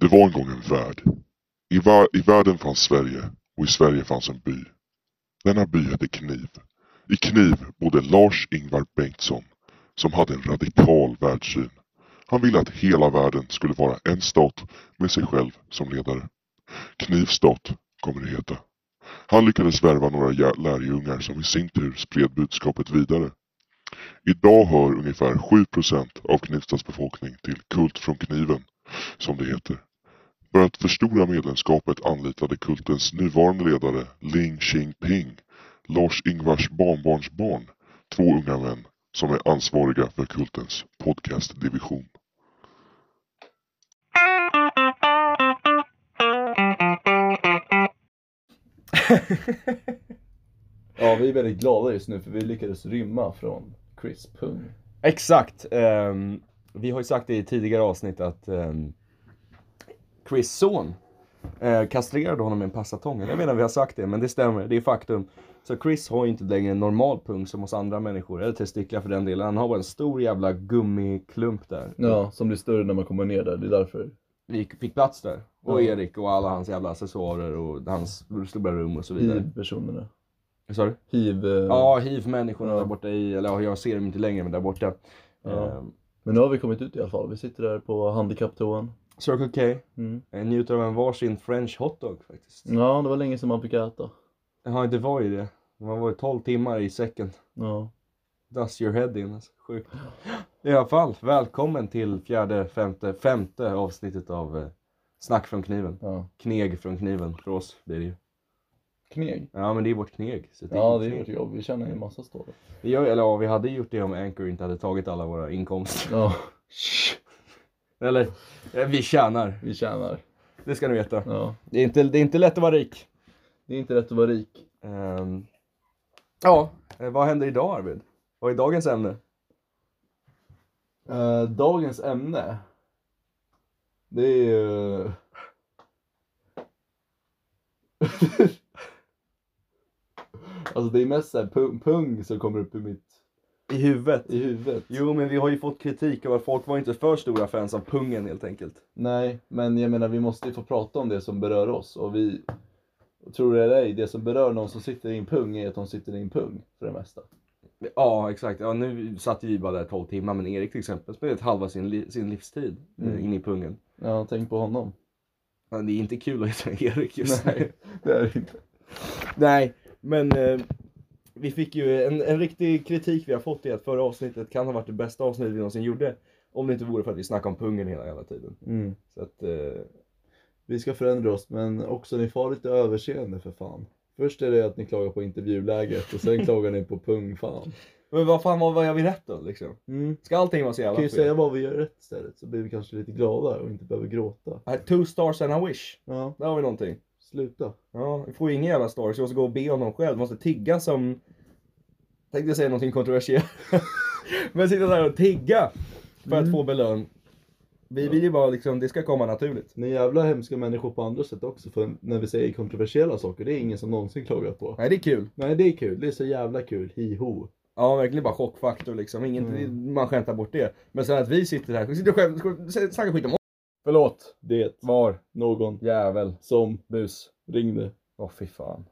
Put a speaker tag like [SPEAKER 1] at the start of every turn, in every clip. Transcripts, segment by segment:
[SPEAKER 1] Det var en gång en värld. I, va- I världen fanns Sverige och i Sverige fanns en by. Denna by hette Kniv. I Kniv bodde Lars-Ingvar Bengtsson som hade en radikal världssyn. Han ville att hela världen skulle vara en stat med sig själv som ledare. Knivstat kommer det heta. Han lyckades värva några jä- lärjungar som i sin tur spred budskapet vidare. Idag hör ungefär 7% av Knivstas befolkning till Kult från kniven som det heter. För att förstora medlemskapet anlitade kultens nuvarande ledare Ling Xingping, Lars-Ingvars barnbarnsbarn, två unga män som är ansvariga för kultens podcastdivision.
[SPEAKER 2] Ja, vi är väldigt glada just nu för vi lyckades rymma från Chris Pung.
[SPEAKER 3] Exakt. ehm, vi har ju sagt det i tidigare avsnitt att ehm, Chris son eh, kastrerade honom med en passatong. Jag menar vi har sagt det, men det stämmer. Det är faktum. Så Chris har ju inte längre en normal pung som oss andra människor, eller testiklar för den delen. Han har bara en stor jävla gummiklump där.
[SPEAKER 2] Ja, som blir större när man kommer ner där. Det är därför.
[SPEAKER 3] Vi fick plats där. Och
[SPEAKER 2] Ja.
[SPEAKER 3] Erik och alla hans jävla accessoarer och hans stora rum och så vidare.
[SPEAKER 2] Hiv-personerna.
[SPEAKER 3] Vad sa du?
[SPEAKER 2] Hiv. eh,
[SPEAKER 3] Mm. Ja, hiv-människorna
[SPEAKER 2] Ja.
[SPEAKER 3] där borta i, eller ja, jag ser dem inte längre, men där borta.
[SPEAKER 2] Ja.
[SPEAKER 3] Ehm,
[SPEAKER 2] Men nu har vi kommit ut i alla fall. Vi sitter där på handikapptoan.
[SPEAKER 3] Circle K.
[SPEAKER 2] Mm.
[SPEAKER 3] Jag njuter av en varsin french hotdog faktiskt.
[SPEAKER 2] Ja, det var länge sedan man fick äta.
[SPEAKER 3] Ja, det var ju det. Man var ju 12 timmar i säcken.
[SPEAKER 2] Ja.
[SPEAKER 3] Dust your head in alltså. Sjukt. I alla fall, välkommen till fjärde, femte, femte avsnittet av eh, Snack från kniven.
[SPEAKER 2] ja.
[SPEAKER 3] Kneg från kniven för oss blir det ju.
[SPEAKER 2] Kneg.
[SPEAKER 3] Ja, men det är vårt kneg. Så det är
[SPEAKER 2] Ja,
[SPEAKER 3] inget
[SPEAKER 2] det är
[SPEAKER 3] kneg.
[SPEAKER 2] vårt jobb. Vi tjänar ju en massa stålar.
[SPEAKER 3] Vi gör, eller ja, vi hade gjort det om Anchor inte hade tagit alla våra inkomster.
[SPEAKER 2] Ja,
[SPEAKER 3] Eller, eh, vi tjänar.
[SPEAKER 2] vi tjänar.
[SPEAKER 3] Det ska ni veta.
[SPEAKER 2] Ja.
[SPEAKER 3] Det är inte, det är inte lätt att vara rik.
[SPEAKER 2] Det är inte rätt att vara rik.
[SPEAKER 3] Ehm, ja, eh, vad händer idag Arvid? Vad är dagens ämne?
[SPEAKER 2] Eh, dagens ämne. Det är ju... alltså det är mest såhär pung, pung som kommer upp i mitt
[SPEAKER 3] I huvudet?
[SPEAKER 2] i huvudet.
[SPEAKER 3] Jo, men vi har ju fått kritik av att folk var inte för stora fans av pungen helt enkelt.
[SPEAKER 2] Nej, men jag menar vi måste ju få prata om det som berör oss och vi Tror det eller ej, det som berör någon som sitter i en pung är att de sitter i en pung för det mesta.
[SPEAKER 3] Ja, exakt. Ja, nu satt vi bara där 12 timmar, men Erik till exempel spelade halva sin, li- sin livstid eh,
[SPEAKER 2] Mm.
[SPEAKER 3] in i pungen.
[SPEAKER 2] Ja, tänk på honom.
[SPEAKER 3] Men det är inte kul att heta Erik just nu.
[SPEAKER 2] Nej, det är det inte.
[SPEAKER 3] Nej, men eh, vi fick ju en, en riktig kritik vi har fått i att förra avsnittet kan ha varit det bästa avsnittet vi någonsin gjorde. Om det inte vore för att vi snackade om pungen hela jävla tiden. Så att, eh,
[SPEAKER 2] Vi ska förändra oss, men också ni får ha lite överseende för fan. Först är det att ni klagar på intervjuläget och sen klagar ni på pungfan.
[SPEAKER 3] men vad fan vad, vad gör vi rätt då liksom?
[SPEAKER 2] Mm.
[SPEAKER 3] Ska allting vara så jävla
[SPEAKER 2] Kan ju
[SPEAKER 3] fel?
[SPEAKER 2] säga vad vi gör rätt istället så blir vi kanske lite glada och inte behöver gråta.
[SPEAKER 3] Nej, Two stars and a wish.
[SPEAKER 2] Ja,
[SPEAKER 3] Där har vi någonting.
[SPEAKER 2] sluta.
[SPEAKER 3] Ja, vi får ju inga jävla stars. Jag måste gå och be om dem själv. Måste tigga som... Tänkte säga någonting kontroversiellt. Men sitta där och tigga för att
[SPEAKER 2] Mm.
[SPEAKER 3] få belön. Vi vill ju bara liksom, det ska komma naturligt.
[SPEAKER 2] Ni är jävla hemska människor på andra sätt också för när vi säger kontroversiella saker, det är ingen som någonsin klagat på.
[SPEAKER 3] Nej, det är kul.
[SPEAKER 2] Nej, det är kul. Det är så jävla kul. Hi-ho.
[SPEAKER 3] Ja, verkligen bara chockfaktor liksom. Inget,
[SPEAKER 2] Mm.
[SPEAKER 3] Man skämtar bort det. Men sen att vi sitter här, vi sitter och skäm- snackar skit om oss. Förlåt.
[SPEAKER 2] Det
[SPEAKER 3] Var?
[SPEAKER 2] någon
[SPEAKER 3] Jävel.
[SPEAKER 2] som
[SPEAKER 3] Bus.
[SPEAKER 2] ringde.
[SPEAKER 3] Åh fy fan.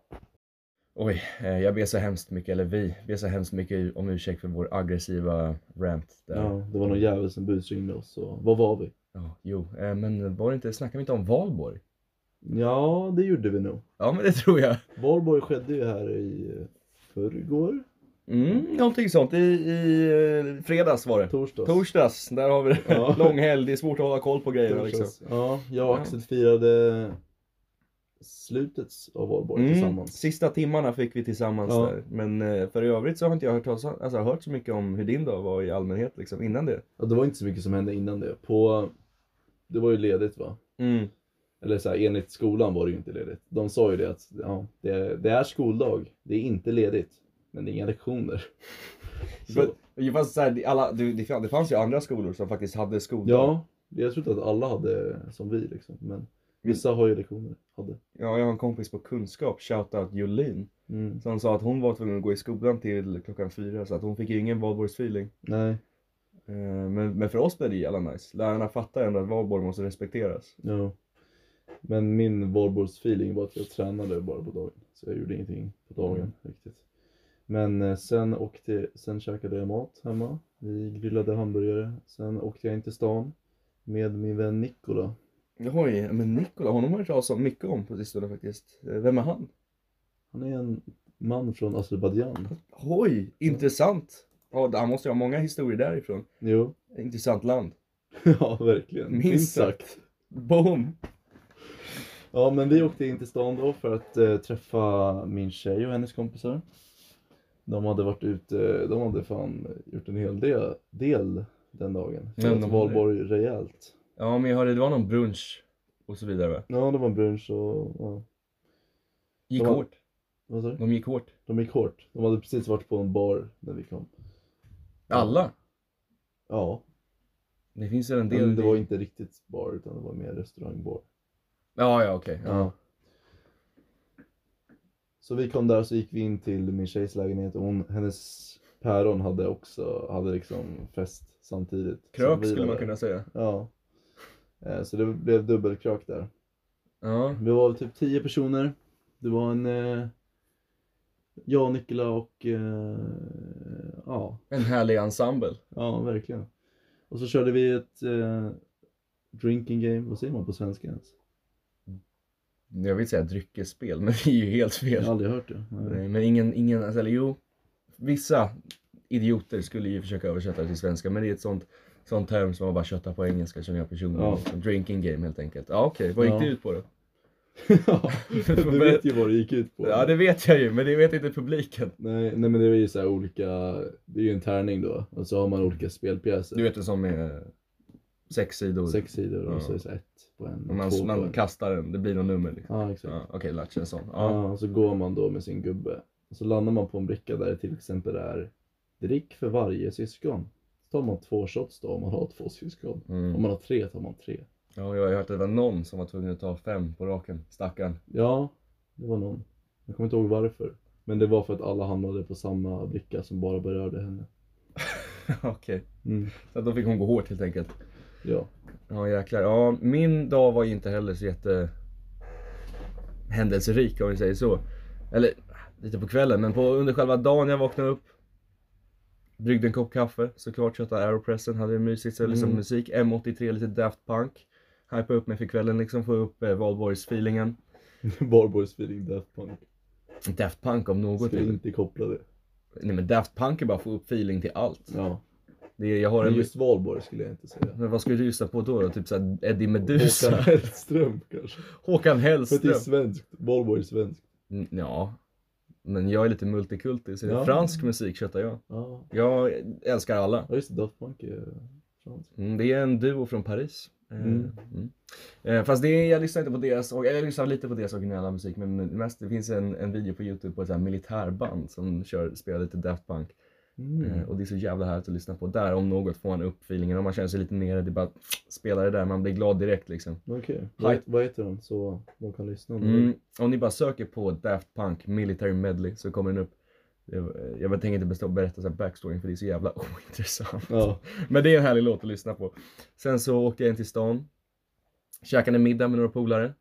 [SPEAKER 3] Oj, eh, jag ber så hemskt mycket, eller vi ber så hemskt mycket om ursäkt för vår aggressiva rant där.
[SPEAKER 2] Ja, det var någon jävel som busringde oss. Och... Vad var vi?
[SPEAKER 3] Ja, jo, eh, men var det inte, snackade vi inte om Valborg?
[SPEAKER 2] Ja, det gjorde vi nog.
[SPEAKER 3] Ja, men det tror jag.
[SPEAKER 2] Valborg skedde ju här i eh, förrgår,
[SPEAKER 3] Mm, någonting sånt. I, i eh, fredags var det.
[SPEAKER 2] torsdags.
[SPEAKER 3] Torsdags, där har vi det.
[SPEAKER 2] Ja.
[SPEAKER 3] Lång helg, det är svårt att hålla koll på grejerna liksom.
[SPEAKER 2] Torsdags. Ja, jag och Axel firade slutet av Valborg
[SPEAKER 3] Mm,
[SPEAKER 2] tillsammans.
[SPEAKER 3] sista timmarna fick vi tillsammans
[SPEAKER 2] Ja.
[SPEAKER 3] där. Men eh, för i övrigt så har inte jag hört, talas- alltså, hört så mycket om hur din dag var i allmänhet liksom, innan det.
[SPEAKER 2] Ja, det var inte så mycket som hände innan det. På, det var ju ledigt va?
[SPEAKER 3] Mm.
[SPEAKER 2] Eller så här, enligt skolan var det ju inte ledigt. De sa ju det att ja, det, det är skoldag, det är inte ledigt, men det är inga lektioner. Så,
[SPEAKER 3] Men, fast, så här, det- alla, det, det fanns- det fanns ju andra skolor som faktiskt hade skoldag.
[SPEAKER 2] ja, jag tror inte att alla hade som vi liksom, men vissa har ju lektioner. Hade.
[SPEAKER 3] ja, jag har en kompis på kunskap, shoutout Jolin.
[SPEAKER 2] Mm.
[SPEAKER 3] Som sa att hon var tvungen att gå i skolan till klockan fyra så att hon fick ju ingen valborgsfeeling.
[SPEAKER 2] Nej,
[SPEAKER 3] Eh, Men, men för oss blev det jävla nice. Lärarna fattar ändå att valborg måste respekteras.
[SPEAKER 2] Ja. Men min valborgsfeeling var att jag tränade bara på dagen. Så jag gjorde ingenting på dagen
[SPEAKER 3] Mm.
[SPEAKER 2] riktigt. Men eh, sen åkte, sen käkade jag mat hemma. Vi grillade hamburgare. Sen åkte jag in till stan med min vän Nikola.
[SPEAKER 3] Oj, men Nikola, honom har jag hört talas om mycket om på sistone faktiskt. Eh, Vem är han?
[SPEAKER 2] Han är en man från Azerbajdzjan.
[SPEAKER 3] Oj, intressant! Ja, han måste ju ha många historier därifrån.
[SPEAKER 2] Jo,
[SPEAKER 3] Intressant land.
[SPEAKER 2] ja verkligen.
[SPEAKER 3] Minst sagt. Boom!
[SPEAKER 2] Ja, men vi åkte in till stan då för att eh, träffa min tjej och hennes kompisar. De hade varit ute, de hade fan gjort en hel del, del den dagen.
[SPEAKER 3] Ja, de
[SPEAKER 2] Firat
[SPEAKER 3] hade
[SPEAKER 2] valborg rejält.
[SPEAKER 3] Ja, men jag hörde det var någon brunch och så vidare va?
[SPEAKER 2] Ja, det var brunch och ja.
[SPEAKER 3] Gick
[SPEAKER 2] Det var-
[SPEAKER 3] hårt.
[SPEAKER 2] Vad sa du?
[SPEAKER 3] De gick hårt.
[SPEAKER 2] De gick hårt. De hade precis varit på en bar när vi kom.
[SPEAKER 3] Alla.
[SPEAKER 2] Ja,
[SPEAKER 3] Det finns väl en del.
[SPEAKER 2] men det var inte riktigt bar utan det var mer restaurangbar.
[SPEAKER 3] Ja, ja, okej. Ja.
[SPEAKER 2] Ja. Så vi kom där så gick vi in till min tjejs lägenhet och hon, hennes päron hade också, hade liksom fest samtidigt. som
[SPEAKER 3] Krök
[SPEAKER 2] vi
[SPEAKER 3] skulle
[SPEAKER 2] var
[SPEAKER 3] man
[SPEAKER 2] där.
[SPEAKER 3] kunna säga.
[SPEAKER 2] Ja. Eh, Så det blev dubbelkrök där.
[SPEAKER 3] Ja.
[SPEAKER 2] Vi var väl typ 10 personer. Det var en, eh, jag, Nikola och, eh, ja,
[SPEAKER 3] En härlig ensemble.
[SPEAKER 2] ja verkligen. Och så körde vi ett eh, drinking game, vad säger man på svenska ens?
[SPEAKER 3] Jag vill säga dryckesspel, men det är ju helt
[SPEAKER 2] Jag
[SPEAKER 3] fel.
[SPEAKER 2] har aldrig hört det. Nej.
[SPEAKER 3] Nej, Eh, men ingen, ingen, alltså, eller jo, vissa idioter skulle ju försöka översätta det till svenska, men det är ett sånt, sånt term som man bara köttar på engelska känner jag personligen.
[SPEAKER 2] Ja.
[SPEAKER 3] Liksom. Drinking game helt enkelt. Ja okej, vad gick
[SPEAKER 2] Ja.
[SPEAKER 3] det ut på då?
[SPEAKER 2] ja, du vet ju vad det gick ut på.
[SPEAKER 3] Ja det vet jag ju, men det vet inte publiken.
[SPEAKER 2] Nej, nej men det är ju så här olika, det är ju en tärning då och så har man olika spelpjäser.
[SPEAKER 3] Du vet det som är sex sidor.
[SPEAKER 2] Sex sidor och
[SPEAKER 3] Ja.
[SPEAKER 2] så är det så här ett på en,
[SPEAKER 3] Och man,
[SPEAKER 2] två på
[SPEAKER 3] man
[SPEAKER 2] en.
[SPEAKER 3] kastar den, det blir något nummer. Liksom.
[SPEAKER 2] Ja, exakt.
[SPEAKER 3] Ja, okej, latch en sån.
[SPEAKER 2] Ja.
[SPEAKER 3] Ja.
[SPEAKER 2] och så går man då med sin gubbe. Och så landar man på en bricka där det till exempel är drick för varje syskon. Så tar man två shots då om man har två syskon.
[SPEAKER 3] Mm.
[SPEAKER 2] Om man har tre tar man tre.
[SPEAKER 3] ja, jag har hört att det var någon som var tvungen att ta fem på raken, stackarn.
[SPEAKER 2] Ja, det var någon. Jag kommer inte ihåg varför. Men det var för att alla hamnade på samma bricka som bara berörde henne.
[SPEAKER 3] okej,
[SPEAKER 2] Mm.
[SPEAKER 3] så då fick hon gå hårt helt enkelt.
[SPEAKER 2] Ja.
[SPEAKER 3] Ja jäklar. Ja, min dag var ju inte heller så jätte händelserik om vi säger så. Eller lite på kvällen, men på, under själva dagen jag vaknade upp. Bryggde en kopp kaffe, såklart köttade aeropressen, hade det mysigt, så liksom
[SPEAKER 2] Mm.
[SPEAKER 3] musik. M83, lite Daft Punk. Hypa upp mig för kvällen liksom, få upp eh, valborgsfeelingen.
[SPEAKER 2] Barboys feeling Daft Punk.
[SPEAKER 3] Daft Punk om något.
[SPEAKER 2] Ska inte koppla det.
[SPEAKER 3] Nej men Daft Punk är bara att få upp feeling till allt.
[SPEAKER 2] Ja.
[SPEAKER 3] Det är, jag har
[SPEAKER 2] Men
[SPEAKER 3] en...
[SPEAKER 2] just Valborg skulle jag inte säga.
[SPEAKER 3] Men vad ska du lyssna på då? då? Typ såhär Eddie Meduza?
[SPEAKER 2] Håkan
[SPEAKER 3] Håkan,
[SPEAKER 2] Hellström kanske. För att det är
[SPEAKER 3] Hellström?
[SPEAKER 2] svenskt. Valborg är svenskt.
[SPEAKER 3] Mm, Ja, men jag är lite multikulti så
[SPEAKER 2] Ja.
[SPEAKER 3] fransk musik köttar jag.
[SPEAKER 2] Ja,
[SPEAKER 3] Jag älskar alla.
[SPEAKER 2] ja just det. Daft Punk är franskt.
[SPEAKER 3] Mm, det är en duo från Paris. Eh,
[SPEAKER 2] Mm.
[SPEAKER 3] mm. Eh, Fast det, jag lyssnar inte på deras, och- eller jag lyssnar lite på deras originella musik men mest, det finns en, en video på youtube på ett så här militärband som kör, spelar lite Daft Punk. Eh,
[SPEAKER 2] Mm.
[SPEAKER 3] Och det är så jävla härligt att lyssna på. Där om något får man upp feelingen. Om man känner sig lite nere, det är bara att spela det där, man blir glad direkt liksom.
[SPEAKER 2] Okej. Vad,
[SPEAKER 3] Hype.
[SPEAKER 2] het- vad heter de så de kan lyssna? om det?
[SPEAKER 3] Mm. Om ni bara söker på Daft Punk Military Medley så kommer den upp. Jag, jag tänker inte bestå, berätta så här backstoryn för det är så jävla ointressant.
[SPEAKER 2] Ja.
[SPEAKER 3] Men det är en härlig låt att lyssna på. Sen så åkte jag in till stan. Käkade middag med några polare.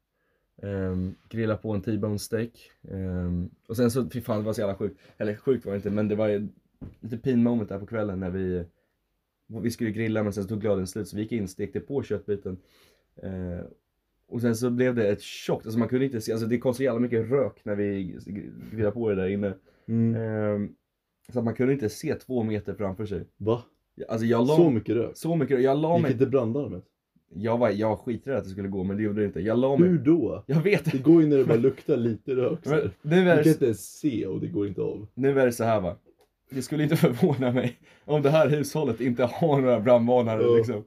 [SPEAKER 3] Um, grillade på en T-bone steak. Ehm, och sen så, fy fan det var så jävla sjukt. Eller sjukt var det inte men det var ju lite pin moment där på kvällen när vi vi skulle grilla men sen så tog glöden slut så vi gick in stekte på köttbiten. Eh, och sen så blev det ett tjockt, alltså man kunde inte se, alltså det kom så jävla mycket rök när vi grillade på det där inne.
[SPEAKER 2] Mm.
[SPEAKER 3] Ehm, så att man kunde inte se två meter framför sig.
[SPEAKER 2] Va?
[SPEAKER 3] Alltså jag la
[SPEAKER 2] Så mycket rök?
[SPEAKER 3] så mycket. Jag la
[SPEAKER 2] Gick
[SPEAKER 3] mig.
[SPEAKER 2] inte brandarmet?
[SPEAKER 3] Jag var, jag var skiträdd att det skulle gå men det gjorde det inte. Jag la mig.
[SPEAKER 2] Hur då?
[SPEAKER 3] Jag vet
[SPEAKER 2] Det
[SPEAKER 3] inte.
[SPEAKER 2] går ju när det bara luktar lite rök. så här.
[SPEAKER 3] Men Nu är,
[SPEAKER 2] Du kan
[SPEAKER 3] det,
[SPEAKER 2] inte ens se och det går inte av.
[SPEAKER 3] nu är det så här va. Det skulle inte förvåna mig om det här hushållet inte har några brandvarnare
[SPEAKER 2] Ja.
[SPEAKER 3] liksom.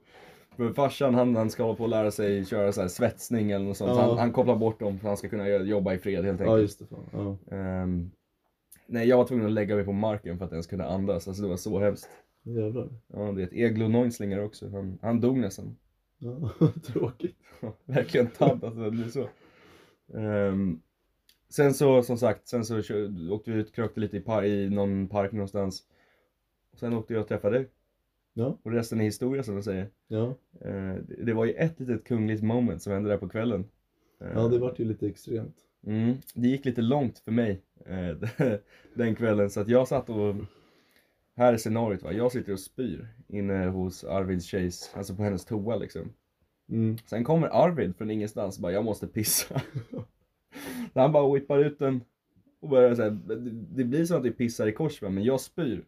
[SPEAKER 3] För farsan han, han ska hålla på att lära sig köra så här svetsning eller något sånt. Så
[SPEAKER 2] Ja.
[SPEAKER 3] Han, han kopplar bort dem för han ska kunna göra- jobba i fred helt
[SPEAKER 2] Ja
[SPEAKER 3] enkelt.
[SPEAKER 2] just det. Fan. Ja.
[SPEAKER 3] Ehm, nej jag var tvungen att lägga mig på marken för att ens kunna andas. Alltså det var så hemskt.
[SPEAKER 2] Jävlar.
[SPEAKER 3] Ja, det är ett Eglo Neunzlinger också. Han, han dog nästan.
[SPEAKER 2] Ja. Tråkigt.
[SPEAKER 3] Verkligen tant att det blir så. Ehm, sen så som sagt, sen så kö- åkte vi ut, krökte lite i, par, i någon park någonstans. Sen åkte jag och träffade dig.
[SPEAKER 2] Ja.
[SPEAKER 3] Och resten är historia som de säger.
[SPEAKER 2] Ja,
[SPEAKER 3] Eh, det- det var ju ett litet kungligt moment som hände där på kvällen. Eh,
[SPEAKER 2] ja det vart ju lite extremt.
[SPEAKER 3] Mm, det gick lite långt för mig eh, den kvällen så att jag satt och här är scenariot va, jag sitter och spyr inne hos Arvids tjejs, alltså på hennes toa liksom.
[SPEAKER 2] Mm.
[SPEAKER 3] Sen kommer Arvid från ingenstans och bara, jag måste pissa. Så han bara whippar ut den och börjar såhär, det blir som att vi pissar i kors va, men jag spyr.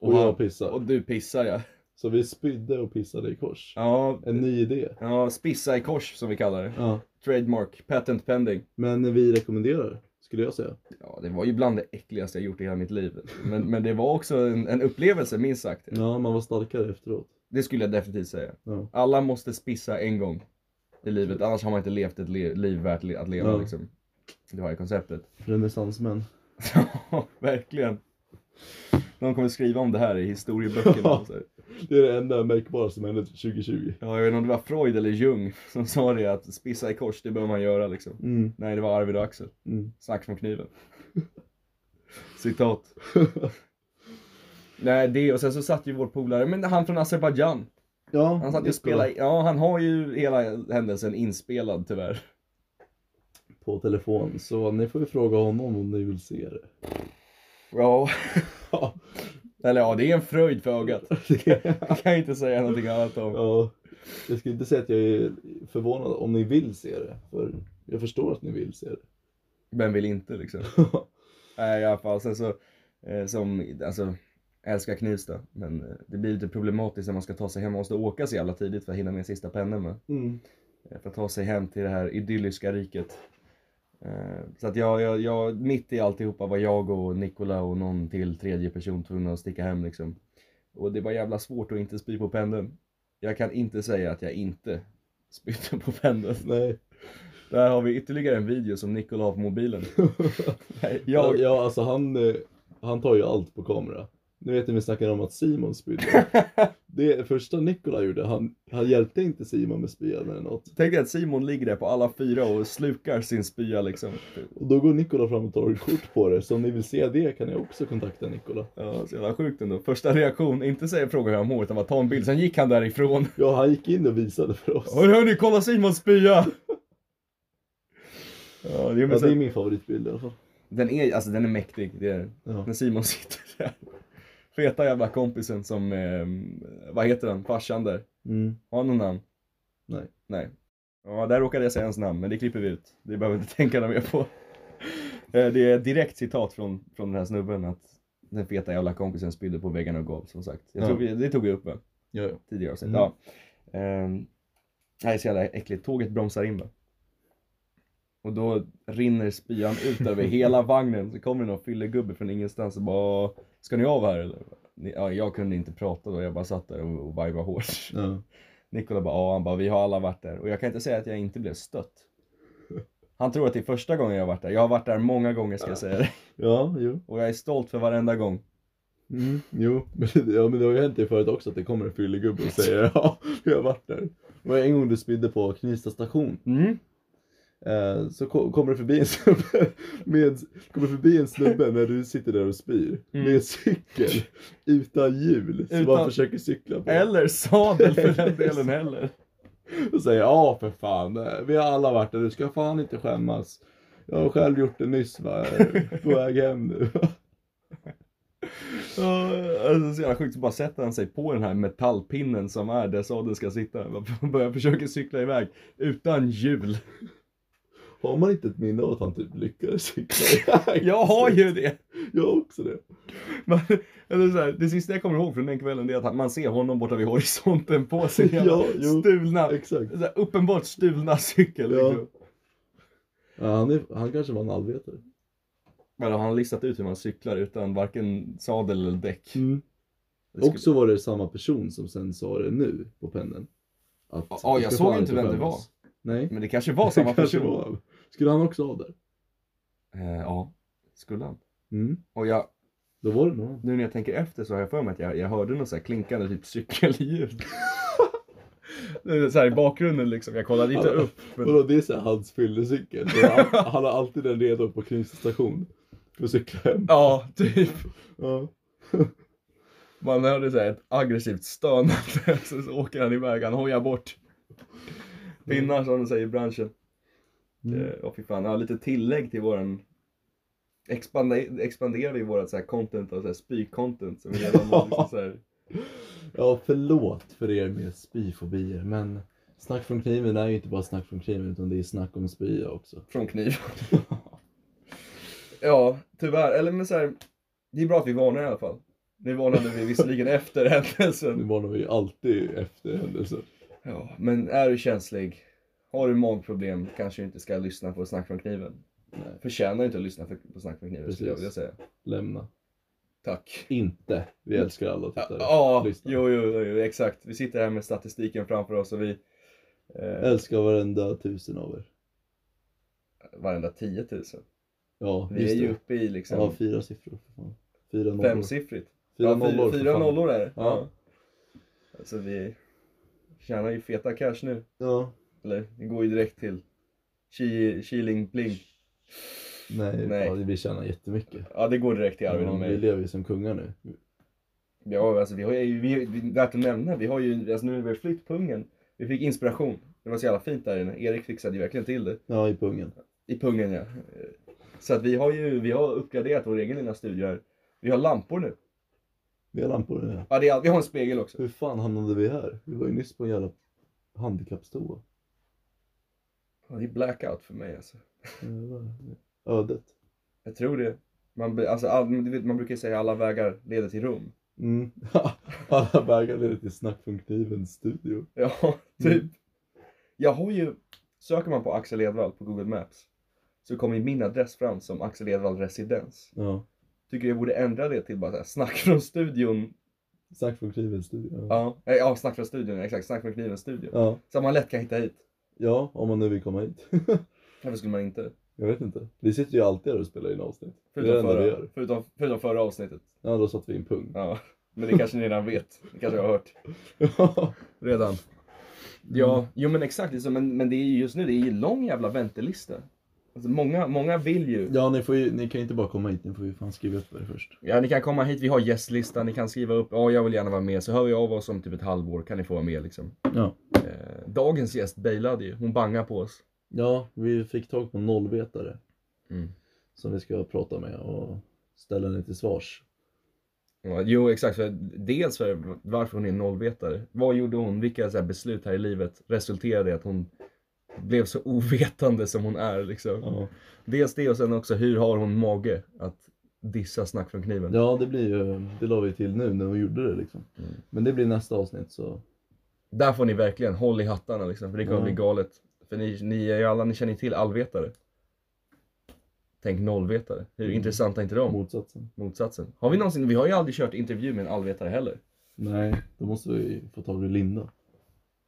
[SPEAKER 2] Och, jag pissar.
[SPEAKER 3] och du pissar ja.
[SPEAKER 2] Så vi spydde och pissade i kors.
[SPEAKER 3] Ja,
[SPEAKER 2] En ny idé.
[SPEAKER 3] ja, spissa i kors som vi kallar det.
[SPEAKER 2] Ja.
[SPEAKER 3] Trademark, patent pending.
[SPEAKER 2] Men vi rekommenderar, skulle jag säga.
[SPEAKER 3] Ja, det var ju bland det äckligaste jag gjort i hela mitt liv. Men, men det var också en, en upplevelse minst sagt.
[SPEAKER 2] Ja, man var starkare efteråt.
[SPEAKER 3] Det skulle jag definitivt säga.
[SPEAKER 2] Ja.
[SPEAKER 3] Alla måste spissa en gång i livet, annars har man inte levt ett le- liv värt le- att leva
[SPEAKER 2] Ja.
[SPEAKER 3] liksom. Det var ju konceptet.
[SPEAKER 2] Renässansmän.
[SPEAKER 3] Ja, verkligen. De kommer skriva om det här i historieböckerna. och så här.
[SPEAKER 2] Det är det enda märkbara som hände 2020.
[SPEAKER 3] Ja, jag vet inte om det var Freud eller Jung som sa det att spissa i kors, det bör man göra liksom.
[SPEAKER 2] Mm,
[SPEAKER 3] Nej, det var Arvid och Axel.
[SPEAKER 2] mm.
[SPEAKER 3] Snack från kniven. Citat. Nej, det och sen så satt ju vår polare, men han från Azerbajdzjan.
[SPEAKER 2] Ja,
[SPEAKER 3] Han satt ju
[SPEAKER 2] det
[SPEAKER 3] och
[SPEAKER 2] skulle vara
[SPEAKER 3] spelade, ja han har ju hela händelsen inspelad tyvärr.
[SPEAKER 2] På telefon, så ni får ju fråga honom om ni vill se det.
[SPEAKER 3] Ja.
[SPEAKER 2] Ja.
[SPEAKER 3] Eller ja, det är en fröjd för ögat.
[SPEAKER 2] Det-
[SPEAKER 3] Jag kan inte säga någonting annat om.
[SPEAKER 2] ja. Jag skulle inte säga att jag är förvånad om ni vill se det, för jag förstår att ni vill se det.
[SPEAKER 3] Vem vill inte liksom? Nej i alla fall, sen så, eh, som, alltså, älskar Knivsta. Men eh, det blir lite problematiskt när man ska ta sig hem, man måste åka så jävla tidigt för att hinna med sista pennan med.
[SPEAKER 2] Mm.
[SPEAKER 3] Eh, För att ta sig hem till det här idylliska riket. Eh, Så att jag, jag, jag, mitt i alltihopa var jag och Nikola och någon till tredje person tvungna att sticka hem liksom. Och det var jävla svårt att inte spy på pendeln. Jag kan inte säga att jag inte spydde på pendeln.
[SPEAKER 2] Nej.
[SPEAKER 3] Där har vi ytterligare en video som Nikola har på mobilen. Nej,
[SPEAKER 2] Ja,
[SPEAKER 3] jag,
[SPEAKER 2] ja, alltså han, eh, han tar ju allt på kamera. Nu vet ni vi snackade om att Simon spydde. Det första Nikola gjorde, han, han hjälpte inte Simon med spyan eller något.
[SPEAKER 3] Tänk dig att Simon ligger där på alla fyra och slukar sin spya liksom.
[SPEAKER 2] Och då går Nikola fram och tar ett kort på det, så om ni vill se det kan ni också kontakta Nikola.
[SPEAKER 3] Ja, så jävla sjukt ändå. Första reaktion, inte säga fråga hur han mår utan bara ta en bild, sen gick han därifrån.
[SPEAKER 2] Ja, han gick in och visade för oss.
[SPEAKER 3] Hör, hörni, kolla Simons spya! Ja, det är,
[SPEAKER 2] Ja,
[SPEAKER 3] men
[SPEAKER 2] det är
[SPEAKER 3] sen,
[SPEAKER 2] min favoritbild i alla fall.
[SPEAKER 3] den är, alltså den är mäktig, det är den.
[SPEAKER 2] Ja.
[SPEAKER 3] När Simon sitter där. Feta jävla kompisen som, eh, vad heter han, farsan där.
[SPEAKER 2] Mm.
[SPEAKER 3] Har han någon namn?
[SPEAKER 2] Nej.
[SPEAKER 3] Nej. Ja, där råkade jag säga hans namn, men det klipper vi ut. Det behöver vi inte tänka något mer på. Eh, Det är ett direkt citat från, från den här snubben att den feta jävla kompisen spydde på väggarna och gav, som sagt. Jag
[SPEAKER 2] Ja.
[SPEAKER 3] tror vi, det tog vi upp va?
[SPEAKER 2] Ja, ja.
[SPEAKER 3] tidigare avsnitt.
[SPEAKER 2] Mm.
[SPEAKER 3] Ja. Ehm, nej, så jävla äckligt. Tåget bromsar in va? Och då rinner spyan ut över hela vagnen. Så kommer det någon fyllegubbe från ingenstans och bara Ska ni av här eller? Ni- Ja, jag kunde inte prata då, jag bara satt där och, och vibade hårt.
[SPEAKER 2] ja.
[SPEAKER 3] Nikola bara ja, han bara vi har alla varit där. Och jag kan inte säga att jag inte blev stött. Han tror att det är första gången jag har varit där. Jag har varit där många gånger ska jag säga det.
[SPEAKER 2] Ja, jo.
[SPEAKER 3] Och jag är stolt för varenda gång.
[SPEAKER 2] Mm, jo, men, det- ja, men det har ju hänt det förut också att det kommer en fyllegubbe och säger ja, jag har varit där. Det var en gång du spydde på Knivsta station.
[SPEAKER 3] Mm.
[SPEAKER 2] Eh, så ko- kommer det förbi en snubbe med, kommer förbi en snubbe när du sitter där och spyr.
[SPEAKER 3] Mm.
[SPEAKER 2] Med en cykel utan hjul som
[SPEAKER 3] Utan-
[SPEAKER 2] man försöker cykla på.
[SPEAKER 3] Eller sadel för den delen heller.
[SPEAKER 2] Och säger ja för fan, eh, vi har alla varit där, du ska fan inte skämmas. Jag har själv gjort det nyss va, eh, på väg hem nu.
[SPEAKER 3] Ja, Alltså så jävla sjukt, så bara sätter han sig på den här metallpinnen som är där sadeln ska sitta. Bara Börjar försöka cykla iväg utan hjul.
[SPEAKER 2] har man inte ett minne av att han typ lyckades cykla iväg?
[SPEAKER 3] Jag har ju det!
[SPEAKER 2] Jag har också det.
[SPEAKER 3] Man, eller så här, det sista jag kommer ihåg från den kvällen det är att man ser honom borta vid horisonten på sin jävla
[SPEAKER 2] Ja, jo.
[SPEAKER 3] stulna,
[SPEAKER 2] Exakt.
[SPEAKER 3] så här, uppenbart stulna cykel.
[SPEAKER 2] Ja.
[SPEAKER 3] Liksom.
[SPEAKER 2] Ja, han, är, han kanske var en allvetare.
[SPEAKER 3] Men han har listat ut hur man cyklar utan varken sadel eller däck. Det skulle-
[SPEAKER 2] Och så var det samma person som sen sa det nu på pendeln. Att,
[SPEAKER 3] Ja, jag
[SPEAKER 2] "Du ska
[SPEAKER 3] såg
[SPEAKER 2] fan
[SPEAKER 3] inte vem det
[SPEAKER 2] skämmas." Nej.
[SPEAKER 3] Men det kanske var samma
[SPEAKER 2] Det kanske
[SPEAKER 3] person.
[SPEAKER 2] var. Skulle han också ha där?
[SPEAKER 3] Eh, ja, skulle han.
[SPEAKER 2] Mm.
[SPEAKER 3] Och jag,
[SPEAKER 2] Då var det nog han.
[SPEAKER 3] nu när jag tänker efter så har jag för mig att jag, jag hörde något så här klinkande typ cykelljud. Det är så här i bakgrunden liksom, jag kollade inte upp. Men...
[SPEAKER 2] Vadå, det är så här hans fyllecykel. Så Han, han har alltid den redo på Knivsta station. För att cykla hem.
[SPEAKER 3] Ja, typ.
[SPEAKER 2] Ja.
[SPEAKER 3] Man hörde så här ett aggressivt stönande, så, så åker han iväg, han hojar bort. Pinnar som de säger i branschen.
[SPEAKER 2] Eh,
[SPEAKER 3] Mm. Och fy fan, ja, lite tillägg till våran Expande- expanderar vi vårat så här content av så här spy-content som vi redan var liksom så här.
[SPEAKER 2] Ja, förlåt för er med spyfobier, men Snack från kniven är ju inte bara snack från kniven utan det är snack om spya också.
[SPEAKER 3] Från kniv. ja, tyvärr. Eller men så här, det är bra att vi varnar i alla fall. Nu varnade vi visserligen efter
[SPEAKER 2] Nu
[SPEAKER 3] händelsen.
[SPEAKER 2] varnar vi ju alltid efter händelser.
[SPEAKER 3] Ja, men är du känslig, har du magproblem, kanske du inte ska lyssna på Snack från kniven.
[SPEAKER 2] Nej.
[SPEAKER 3] Förtjänar inte att lyssna för- på Snack från kniven skulle jag vilja
[SPEAKER 2] Precis.
[SPEAKER 3] säga.
[SPEAKER 2] Lämna.
[SPEAKER 3] Tack.
[SPEAKER 2] Inte. Vi älskar alla
[SPEAKER 3] Ja,
[SPEAKER 2] tittare.
[SPEAKER 3] ja,
[SPEAKER 2] lyssnare.
[SPEAKER 3] jo, jo, jo, exakt. Vi sitter här med statistiken framför oss och vi... Eh,
[SPEAKER 2] Älskar varenda tusen av er.
[SPEAKER 3] varenda 10 000.
[SPEAKER 2] Ja,
[SPEAKER 3] Vi
[SPEAKER 2] just
[SPEAKER 3] är ju
[SPEAKER 2] det.
[SPEAKER 3] uppe i liksom...
[SPEAKER 2] Ja, fyra siffror. för fan. Fyra nollor.
[SPEAKER 3] Femsiffrigt.
[SPEAKER 2] Fyra
[SPEAKER 3] ja,
[SPEAKER 2] nollor.
[SPEAKER 3] nollor.
[SPEAKER 2] för
[SPEAKER 3] Fyra
[SPEAKER 2] fan.
[SPEAKER 3] nollor är det.
[SPEAKER 2] Ja.
[SPEAKER 3] Ja. Alltså vi tjänar ju feta cash nu.
[SPEAKER 2] Ja.
[SPEAKER 3] Eller det går ju direkt till Chi- Chiling Bling.
[SPEAKER 2] Nej,
[SPEAKER 3] Nej.
[SPEAKER 2] Ja, vi tjänar jättemycket.
[SPEAKER 3] Ja det går direkt till Arvid
[SPEAKER 2] Ja,
[SPEAKER 3] och
[SPEAKER 2] vi
[SPEAKER 3] mig.
[SPEAKER 2] lever ju som kungar nu.
[SPEAKER 3] Ja alltså vi har ju, vi, vi, värt att nämna, vi har ju, alltså nu när vi har flytt pungen. Vi fick inspiration. Det var så jävla fint där inne. Erik fixade ju verkligen till det.
[SPEAKER 2] Ja, i pungen.
[SPEAKER 3] I pungen ja. Så att vi har ju, vi har uppgraderat vår egen lilla studio här. Vi har lampor nu.
[SPEAKER 2] Vi har lampor nu. ja.
[SPEAKER 3] Ja det är, allt. vi har en spegel också.
[SPEAKER 2] Hur fan hamnade vi här? Vi var ju nyss på en jävla handikappstoa.
[SPEAKER 3] Ja, det är blackout för mig alltså.
[SPEAKER 2] Jävlar. Ödet.
[SPEAKER 3] Jag tror det. Man, blir- alltså, all, men du vet, man brukar säga alla vägar leder till Rom.
[SPEAKER 2] Mm. Alla vägar leder till Snack från knivens studio.
[SPEAKER 3] Ja, typ.
[SPEAKER 2] Mm.
[SPEAKER 3] Jag har ju, söker man på Axel Edvall på Google Maps så kommer ju min adress fram som Axel Edvall residens.
[SPEAKER 2] Ja.
[SPEAKER 3] Tycker jag borde ändra det till bara så här, snack från studion.
[SPEAKER 2] Snack från knivens studio. Ja.
[SPEAKER 3] Ja, nej, ja snack från studion, exakt. Snack från knivens studio.
[SPEAKER 2] Ja.
[SPEAKER 3] Så att man lätt kan hitta hit.
[SPEAKER 2] ja, om man nu vill komma hit.
[SPEAKER 3] Varför skulle man inte?
[SPEAKER 2] Jag vet inte. Vi sitter ju alltid här och spelar in avsnitt. det
[SPEAKER 3] Förutom
[SPEAKER 2] enda vi
[SPEAKER 3] förra,
[SPEAKER 2] gör.
[SPEAKER 3] förutom, förutom förra avsnittet.
[SPEAKER 2] Ja, då satte vi in pung.
[SPEAKER 3] Ja, men det kanske ni redan vet. Det kanske jag har hört. Redan. Ja, jo men exakt. Liksom, men, men det är ju just nu, det är ju lång jävla väntelista. Alltså, många, många vill ju.
[SPEAKER 2] ja, ni, får ju, ni kan ju inte bara komma hit. Ni får ju fan skriva upp er först.
[SPEAKER 3] Ja, ni kan komma hit, vi har gästlista, ni kan skriva upp, ja jag vill gärna vara med. Så hör vi av oss om typ ett halvår, kan ni få vara med liksom.
[SPEAKER 2] Ja.
[SPEAKER 3] Eh, dagens gäst bailade ju, hon bangade på oss.
[SPEAKER 2] Ja, vi fick tag på en nollvetare.
[SPEAKER 3] Mm.
[SPEAKER 2] Som vi ska prata med och ställa henne till svars.
[SPEAKER 3] Ja, jo exakt, för dels för varför hon är nollvetare. Vad gjorde hon? Vilka så här, beslut här i livet resulterade i att hon blev så ovetande som hon är liksom.
[SPEAKER 2] Ja.
[SPEAKER 3] Dels det och sen också hur har hon mage att dissa snack från kniven?
[SPEAKER 2] Ja, det blir ju, det la vi till nu när vi gjorde det liksom.
[SPEAKER 3] Mm.
[SPEAKER 2] Men det blir nästa avsnitt så.
[SPEAKER 3] Där får ni verkligen håll i hattarna liksom, för det kommer
[SPEAKER 2] Ja.
[SPEAKER 3] bli galet. För ni, ni är ju alla, ni känner ju till allvetare. Tänk nollvetare. Hur
[SPEAKER 2] Mm.
[SPEAKER 3] intressanta är inte de?
[SPEAKER 2] Motsatsen.
[SPEAKER 3] Motsatsen. Har vi någonsin, vi har ju aldrig kört intervju med en allvetare heller.
[SPEAKER 2] Nej, då måste vi få tag i Linda.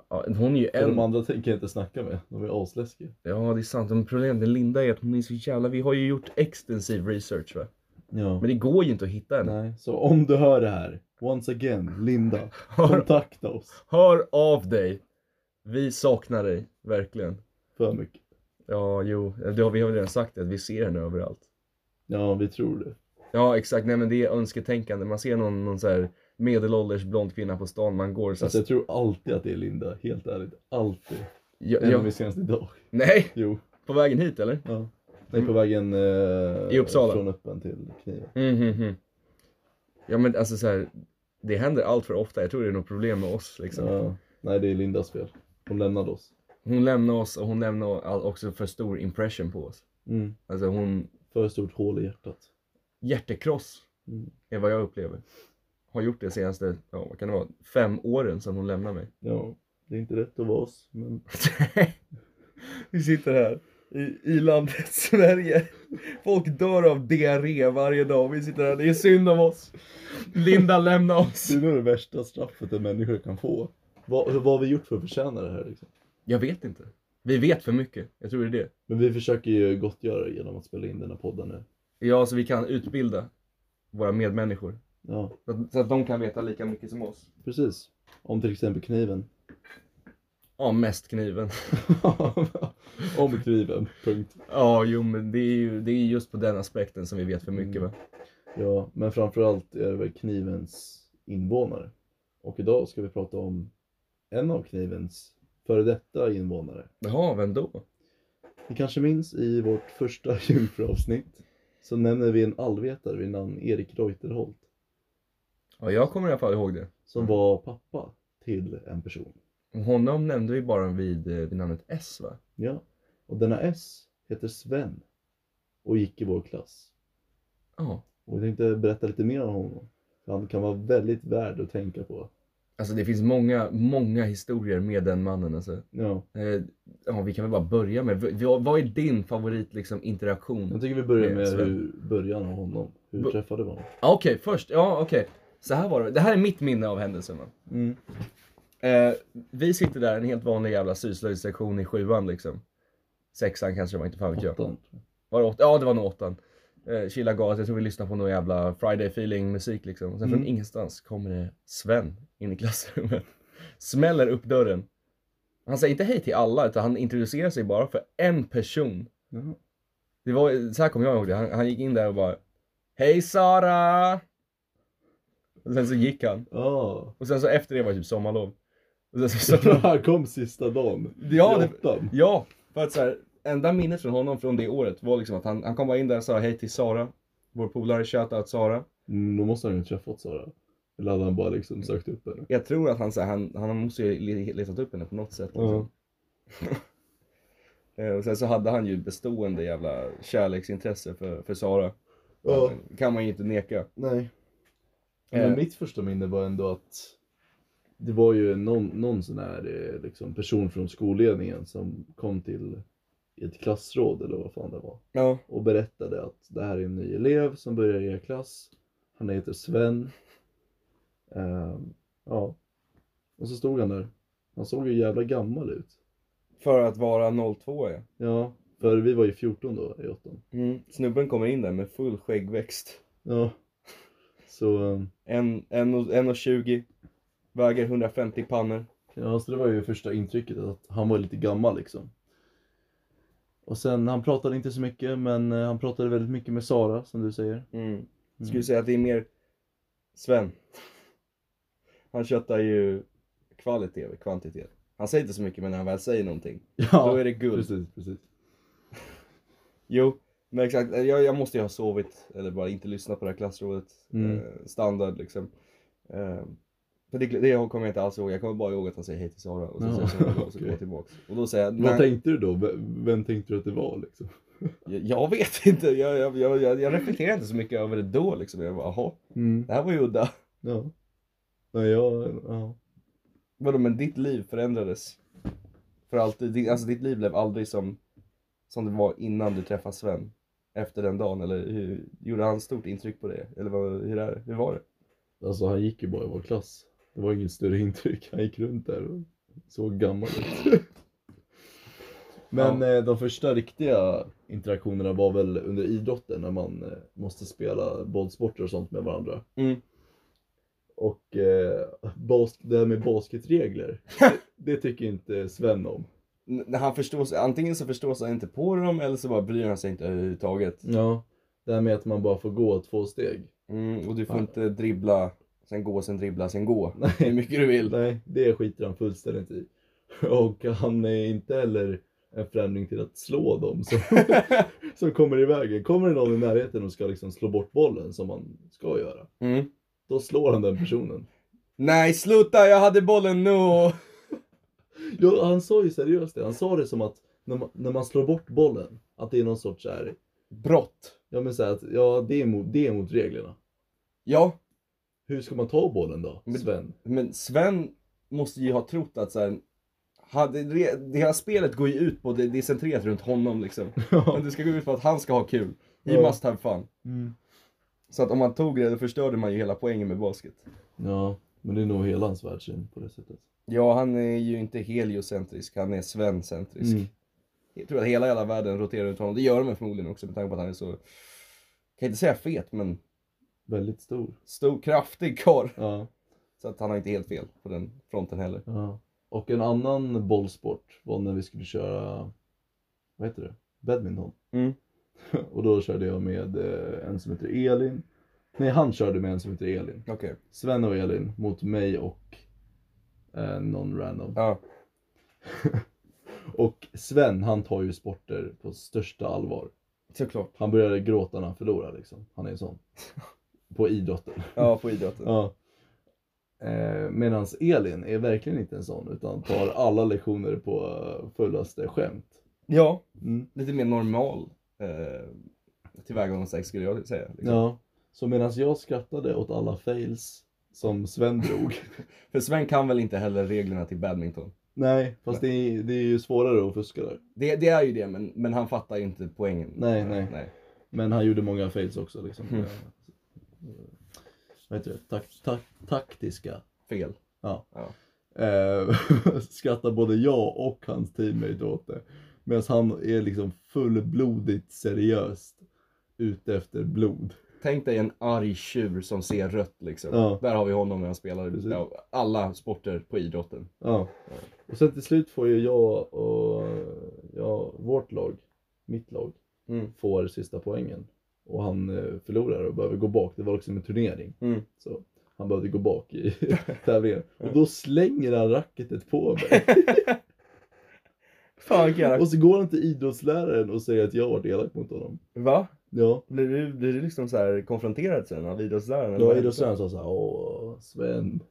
[SPEAKER 3] Ja, hon är ju
[SPEAKER 2] För de
[SPEAKER 3] en...
[SPEAKER 2] andra tänker jag inte snacka med. De är asläskiga.
[SPEAKER 3] Ja det är sant, men problemet med Linda är att hon är så jävla... Vi har ju gjort extensiv research va?
[SPEAKER 2] Ja.
[SPEAKER 3] Men det går ju inte att hitta henne.
[SPEAKER 2] Nej, så om du hör det här, once again, Linda,
[SPEAKER 3] Hör,
[SPEAKER 2] kontakta oss
[SPEAKER 3] hör av dig! Vi saknar dig, verkligen.
[SPEAKER 2] för mycket.
[SPEAKER 3] Ja, jo, det har vi har väl redan sagt det, att vi ser henne överallt.
[SPEAKER 2] Ja, vi tror det.
[SPEAKER 3] Ja exakt, nej men det är önsketänkande. Man ser någon, någon så här medelålders blond kvinna på stan, man går så här,
[SPEAKER 2] Alltså, jag tror alltid att det är Linda, helt ärligt. Alltid.
[SPEAKER 3] ja,
[SPEAKER 2] Även om
[SPEAKER 3] ja,
[SPEAKER 2] vi senast idag.
[SPEAKER 3] Nej!
[SPEAKER 2] Jo.
[SPEAKER 3] På vägen hit eller?
[SPEAKER 2] Ja. Nej, på vägen eh,
[SPEAKER 3] I Uppsala.
[SPEAKER 2] från Öppen till Kniven.
[SPEAKER 3] Mm, mm, mm. Ja men alltså så här, det händer allt för ofta. Jag tror det är något problem med oss liksom.
[SPEAKER 2] Ja. Nej, det är Lindas fel. Hon lämnade oss.
[SPEAKER 3] Hon lämnar oss och hon lämnar all- också för stor impression på oss.
[SPEAKER 2] Mm.
[SPEAKER 3] Alltså hon,
[SPEAKER 2] För stort hål i hjärtat.
[SPEAKER 3] hjärtekross
[SPEAKER 2] Mm.
[SPEAKER 3] är vad jag upplever. Har gjort det senaste, ja vad kan det vara, fem åren sedan hon lämnar mig.
[SPEAKER 2] Ja, det är inte rätt att vara oss, men
[SPEAKER 3] Vi sitter här i, i landet Sverige. Folk dör av diarré varje dag. Vi sitter här, det är synd om oss. Linda lämna oss.
[SPEAKER 2] det är nog det värsta straffet en människa kan få. Vad, vad har vi gjort för att förtjäna det här liksom?
[SPEAKER 3] Jag vet inte. Vi vet för mycket. Jag tror det är det.
[SPEAKER 2] Men vi försöker ju gottgöra genom att spela in den här podden nu.
[SPEAKER 3] Ja, så vi kan utbilda våra medmänniskor.
[SPEAKER 2] Ja,
[SPEAKER 3] Så att, så att de kan veta lika mycket som oss.
[SPEAKER 2] precis. Om till exempel kniven.
[SPEAKER 3] Ja, mest kniven.
[SPEAKER 2] Om kniven, punkt.
[SPEAKER 3] Ja, jo men det är ju det är Mm. just på den aspekten som vi vet för mycket va.
[SPEAKER 2] Ja, men framförallt är det väl knivens invånare. Och idag ska vi prata om en av knivens före detta invånare.
[SPEAKER 3] Jaha, vem då?
[SPEAKER 2] Ni kanske minns i vårt första jungfruavsnitt så nämner vi en allvetare vid namn Erik Reuterholt
[SPEAKER 3] Ja, jag kommer i alla fall ihåg det.
[SPEAKER 2] som
[SPEAKER 3] Mm.
[SPEAKER 2] var pappa till en person.
[SPEAKER 3] Honom nämnde vi bara vid, eh, vid namnet S va?
[SPEAKER 2] Ja, och denna S heter Sven och gick i vår klass.
[SPEAKER 3] Ja.
[SPEAKER 2] Och jag tänkte berätta lite mer om honom. För Han kan vara väldigt värd att tänka på.
[SPEAKER 3] Alltså det finns många, många historier med den mannen alltså.
[SPEAKER 2] Ja,
[SPEAKER 3] Eh, Ja, vi kan väl bara börja med, v- vad vad är din favorit liksom interaktion?
[SPEAKER 2] jag tycker vi börjar
[SPEAKER 3] Med
[SPEAKER 2] med
[SPEAKER 3] Sven.
[SPEAKER 2] hur, början av honom. Hur
[SPEAKER 3] Bu-
[SPEAKER 2] träffade vi honom?
[SPEAKER 3] Ja, Ah, Okej, först, ja okej. Så här var det, det här är mitt minne av händelsen va.
[SPEAKER 2] Mm.
[SPEAKER 3] Eh, vi sitter där, en helt vanlig jävla syslöjdssektion i sjuan liksom. Sexan kanske det var, inte fan vet jag.
[SPEAKER 2] Åttan.
[SPEAKER 3] Var det åtta? Ja, det var nog åttan. Eh, Chilla gas, jag tror vi lyssnade på någon jävla Friday feeling musik liksom. Och sen från
[SPEAKER 2] Mm.
[SPEAKER 3] ingenstans kommer det Sven in i klassrummet. Smäller upp dörren. Han säger inte hej till alla, utan han introducerar sig bara för en person.
[SPEAKER 2] Jaha.
[SPEAKER 3] Det var, så här kommer jag ihåg det. Han, han gick in där och bara Hej Sara! Och sen så gick han.
[SPEAKER 2] Ja,
[SPEAKER 3] Och sen så efter det var det typ sommarlov. Och sen så, så,
[SPEAKER 2] han kom sista dagen.
[SPEAKER 3] ja,
[SPEAKER 2] I
[SPEAKER 3] det,
[SPEAKER 2] åttan.
[SPEAKER 3] Ja, för att så här, enda minnet från honom från det året var liksom att han, han kom bara in där och sa hej till Sara. Vår polare shoutout Sara.
[SPEAKER 2] Mm, Då måste han ju ha träffat Sara. Eller hade han bara liksom sökt upp henne?
[SPEAKER 3] Jag tror att han, så här, han, han måste ju le- letat upp henne på något sätt. Liksom.
[SPEAKER 2] Mm.
[SPEAKER 3] Eh, och sen så hade han ju bestående jävla kärleksintresse för, för Sara. Alltså,
[SPEAKER 2] Ja.
[SPEAKER 3] Kan man ju inte neka.
[SPEAKER 2] Nej.
[SPEAKER 3] Eh.
[SPEAKER 2] Men mitt första minne var ändå att det var ju någon, någon sån här eh, liksom, person från skolledningen som kom till ett klassråd eller vad fan det var
[SPEAKER 3] Ja.
[SPEAKER 2] och berättade att det här är en ny elev som börjar i er klass. Han heter Sven. Ehm, ja. Och så stod han där. Han såg ju jävla gammal ut.
[SPEAKER 3] För att vara 02 ja.
[SPEAKER 2] Ja, för vi var ju 14 då i åttan.
[SPEAKER 3] Mm. Snubben kommer in där med full skäggväxt.
[SPEAKER 2] Ja. Så, ehm,
[SPEAKER 3] En- en och- en och 20 Väger 150 pannor.
[SPEAKER 2] Ja, så det var ju första intrycket att han var lite gammal liksom. Och sen, han pratade inte så mycket, men eh, han pratade väldigt mycket med Sara, som du säger.
[SPEAKER 3] Mm. Skulle säga att det är mer Sven. Han köttar ju kvalitet över kvantitet. Han säger inte så mycket men när han väl säger någonting,
[SPEAKER 2] Ja,
[SPEAKER 3] då är det guld.
[SPEAKER 2] precis, precis.
[SPEAKER 3] Jo, men exakt. eh, Jag, jag måste ju ha sovit eller bara inte lyssnat på det här klassrådet.
[SPEAKER 2] Mm.
[SPEAKER 3] Eh, standard liksom. Eh, för det, det kommer jag inte alls ihåg. Jag kommer bara ihåg att han säger hej till Sara och så
[SPEAKER 2] Ja,
[SPEAKER 3] säger Sara och så går
[SPEAKER 2] okej.
[SPEAKER 3] jag tillbaks. Och då säger jag,
[SPEAKER 2] Vad
[SPEAKER 3] nej,
[SPEAKER 2] tänkte du då? Vem, vem tänkte du att det var liksom?
[SPEAKER 3] jag, jag vet inte. Jag, jag, jag, jag, jag reflekterar inte så mycket över det då liksom. Jag bara, jaha,
[SPEAKER 2] Mm.
[SPEAKER 3] det här var ju udda.
[SPEAKER 2] Ja. Nej, jag, ja.
[SPEAKER 3] Vadå men ditt liv förändrades? För alltid, Ditt- alltså ditt liv blev aldrig som, som det var innan du träffade Sven? Efter den dagen eller hur, gjorde han stort intryck på dig? Eller vad, hur, är, hur var det?
[SPEAKER 2] Alltså han gick ju bara i vår klass. Det var inget större intryck. Han gick runt där och såg gammal ut. Men eh, de första riktiga interaktionerna var väl under idrotten när man eh, måste spela bollsporter och sånt med varandra.
[SPEAKER 3] Mm.
[SPEAKER 2] Och eh, bas- det här med basketregler, det tycker inte Sven om.
[SPEAKER 3] N- När han förstår, sig- antingen så förstår han inte på dem eller så bara bryr han sig inte överhuvudtaget.
[SPEAKER 2] Ja. Det här med att man bara får gå två steg.
[SPEAKER 3] Mm, och du får inte dribbla, sen gå, sen dribbla, sen gå.
[SPEAKER 2] Nej.
[SPEAKER 3] Hur mycket du vill.
[SPEAKER 2] Nej, det skiter han fullständigt i. Och han är inte heller en främling till att slå dem som, som kommer i vägen. Kommer det någon i närheten och ska liksom slå bort bollen som man ska göra,
[SPEAKER 3] Mm.
[SPEAKER 2] då slår han den personen.
[SPEAKER 3] Nej sluta, jag hade bollen nu!
[SPEAKER 2] Jo, han sa ju seriöst det. Han sa det som att när man, när man slår bort bollen, att det är någon sorts så här,
[SPEAKER 3] Brott.
[SPEAKER 2] ja men så här, att, ja det är, mot, det är mot reglerna.
[SPEAKER 3] Ja,
[SPEAKER 2] Hur ska man ta bollen då,
[SPEAKER 3] Men-
[SPEAKER 2] Sven?
[SPEAKER 3] Men Sven måste ju ha trott att så här, hade, det, det hela spelet går ju ut på, det, det är centrerat runt honom liksom. Men det ska gå ut på att han ska ha kul. He
[SPEAKER 2] Ja.
[SPEAKER 3] must have fun. Så att om man tog det, då förstörde man ju hela poängen med basket.
[SPEAKER 2] Ja, men det är nog hela hans världssyn på det sättet.
[SPEAKER 3] Ja, han är ju inte heliocentrisk, han är Sven-centrisk.
[SPEAKER 2] Mm.
[SPEAKER 3] Jag tror att hela jävla världen roterar runt honom. Det gör de väl förmodligen också med tanke på att han är så, kan inte säga fet, men
[SPEAKER 2] Väldigt stor.
[SPEAKER 3] stor, kraftig karl.
[SPEAKER 2] Ja.
[SPEAKER 3] Så att han har inte helt fel på den fronten heller.
[SPEAKER 2] Ja. Och en annan bollsport var när vi skulle köra, vad heter det, badminton.
[SPEAKER 3] Mm.
[SPEAKER 2] Och då körde jag med eh, en som heter Elin Nej, han körde med en som heter Elin.
[SPEAKER 3] Okej.
[SPEAKER 2] Sven och Elin mot mig och eh, någon random.
[SPEAKER 3] Ja.
[SPEAKER 2] Och Sven han tar ju sporter på största allvar.
[SPEAKER 3] Såklart.
[SPEAKER 2] Han började gråta när han förlorade liksom. Han är en sån. På idrotten.
[SPEAKER 3] Ja, på idrotten.
[SPEAKER 2] Ja. Eh, Medan Elin är verkligen inte en sån utan tar alla lektioner på eh, fullaste skämt.
[SPEAKER 3] Ja,
[SPEAKER 2] Mm.
[SPEAKER 3] lite mer normal eh, tillvägagångssätt skulle jag säga. Liksom.
[SPEAKER 2] Ja. Så medan jag skrattade åt alla fails som Sven drog.
[SPEAKER 3] För Sven kan väl inte heller reglerna till badminton?
[SPEAKER 2] nej, fast det är, det är ju svårare att fuska där.
[SPEAKER 3] Det, det är ju det, men, men han fattar ju inte poängen.
[SPEAKER 2] Nej, nej.
[SPEAKER 3] nej.
[SPEAKER 2] Men han gjorde många fails också liksom.
[SPEAKER 3] Mm.
[SPEAKER 2] Eh, Vad heter det? Tak, tak, taktiska.
[SPEAKER 3] Fel.
[SPEAKER 2] Ja.
[SPEAKER 3] Ja.
[SPEAKER 2] Eh, skrattar både jag och hans teammate åt det. Medan han är liksom fullblodigt seriöst ute efter blod.
[SPEAKER 3] Tänk dig en arg tjur som ser rött liksom.
[SPEAKER 2] Ja.
[SPEAKER 3] Där har vi honom när han spelar
[SPEAKER 2] Precis.
[SPEAKER 3] ja, alla sporter på idrotten.
[SPEAKER 2] Ja. Och sen till slut får ju jag och ja, vårt lag, mitt lag,
[SPEAKER 3] Mm.
[SPEAKER 2] får sista poängen. Och han eh, förlorar och behöver gå bak. Det var liksom en turnering.
[SPEAKER 3] Mm.
[SPEAKER 2] Så han behövde gå bak i tävlingen. Och då slänger han racketet på mig.
[SPEAKER 3] Fan vilken jävla...
[SPEAKER 2] Och så går han till idrottsläraren och säger att jag har varit elak mot honom.
[SPEAKER 3] Va?
[SPEAKER 2] Ja.
[SPEAKER 3] Blir du, blir du liksom så här konfronterad sen av idrottsläraren? eller
[SPEAKER 2] Ja,
[SPEAKER 3] vad?
[SPEAKER 2] idrottsläraren sa såhär, åh Sven.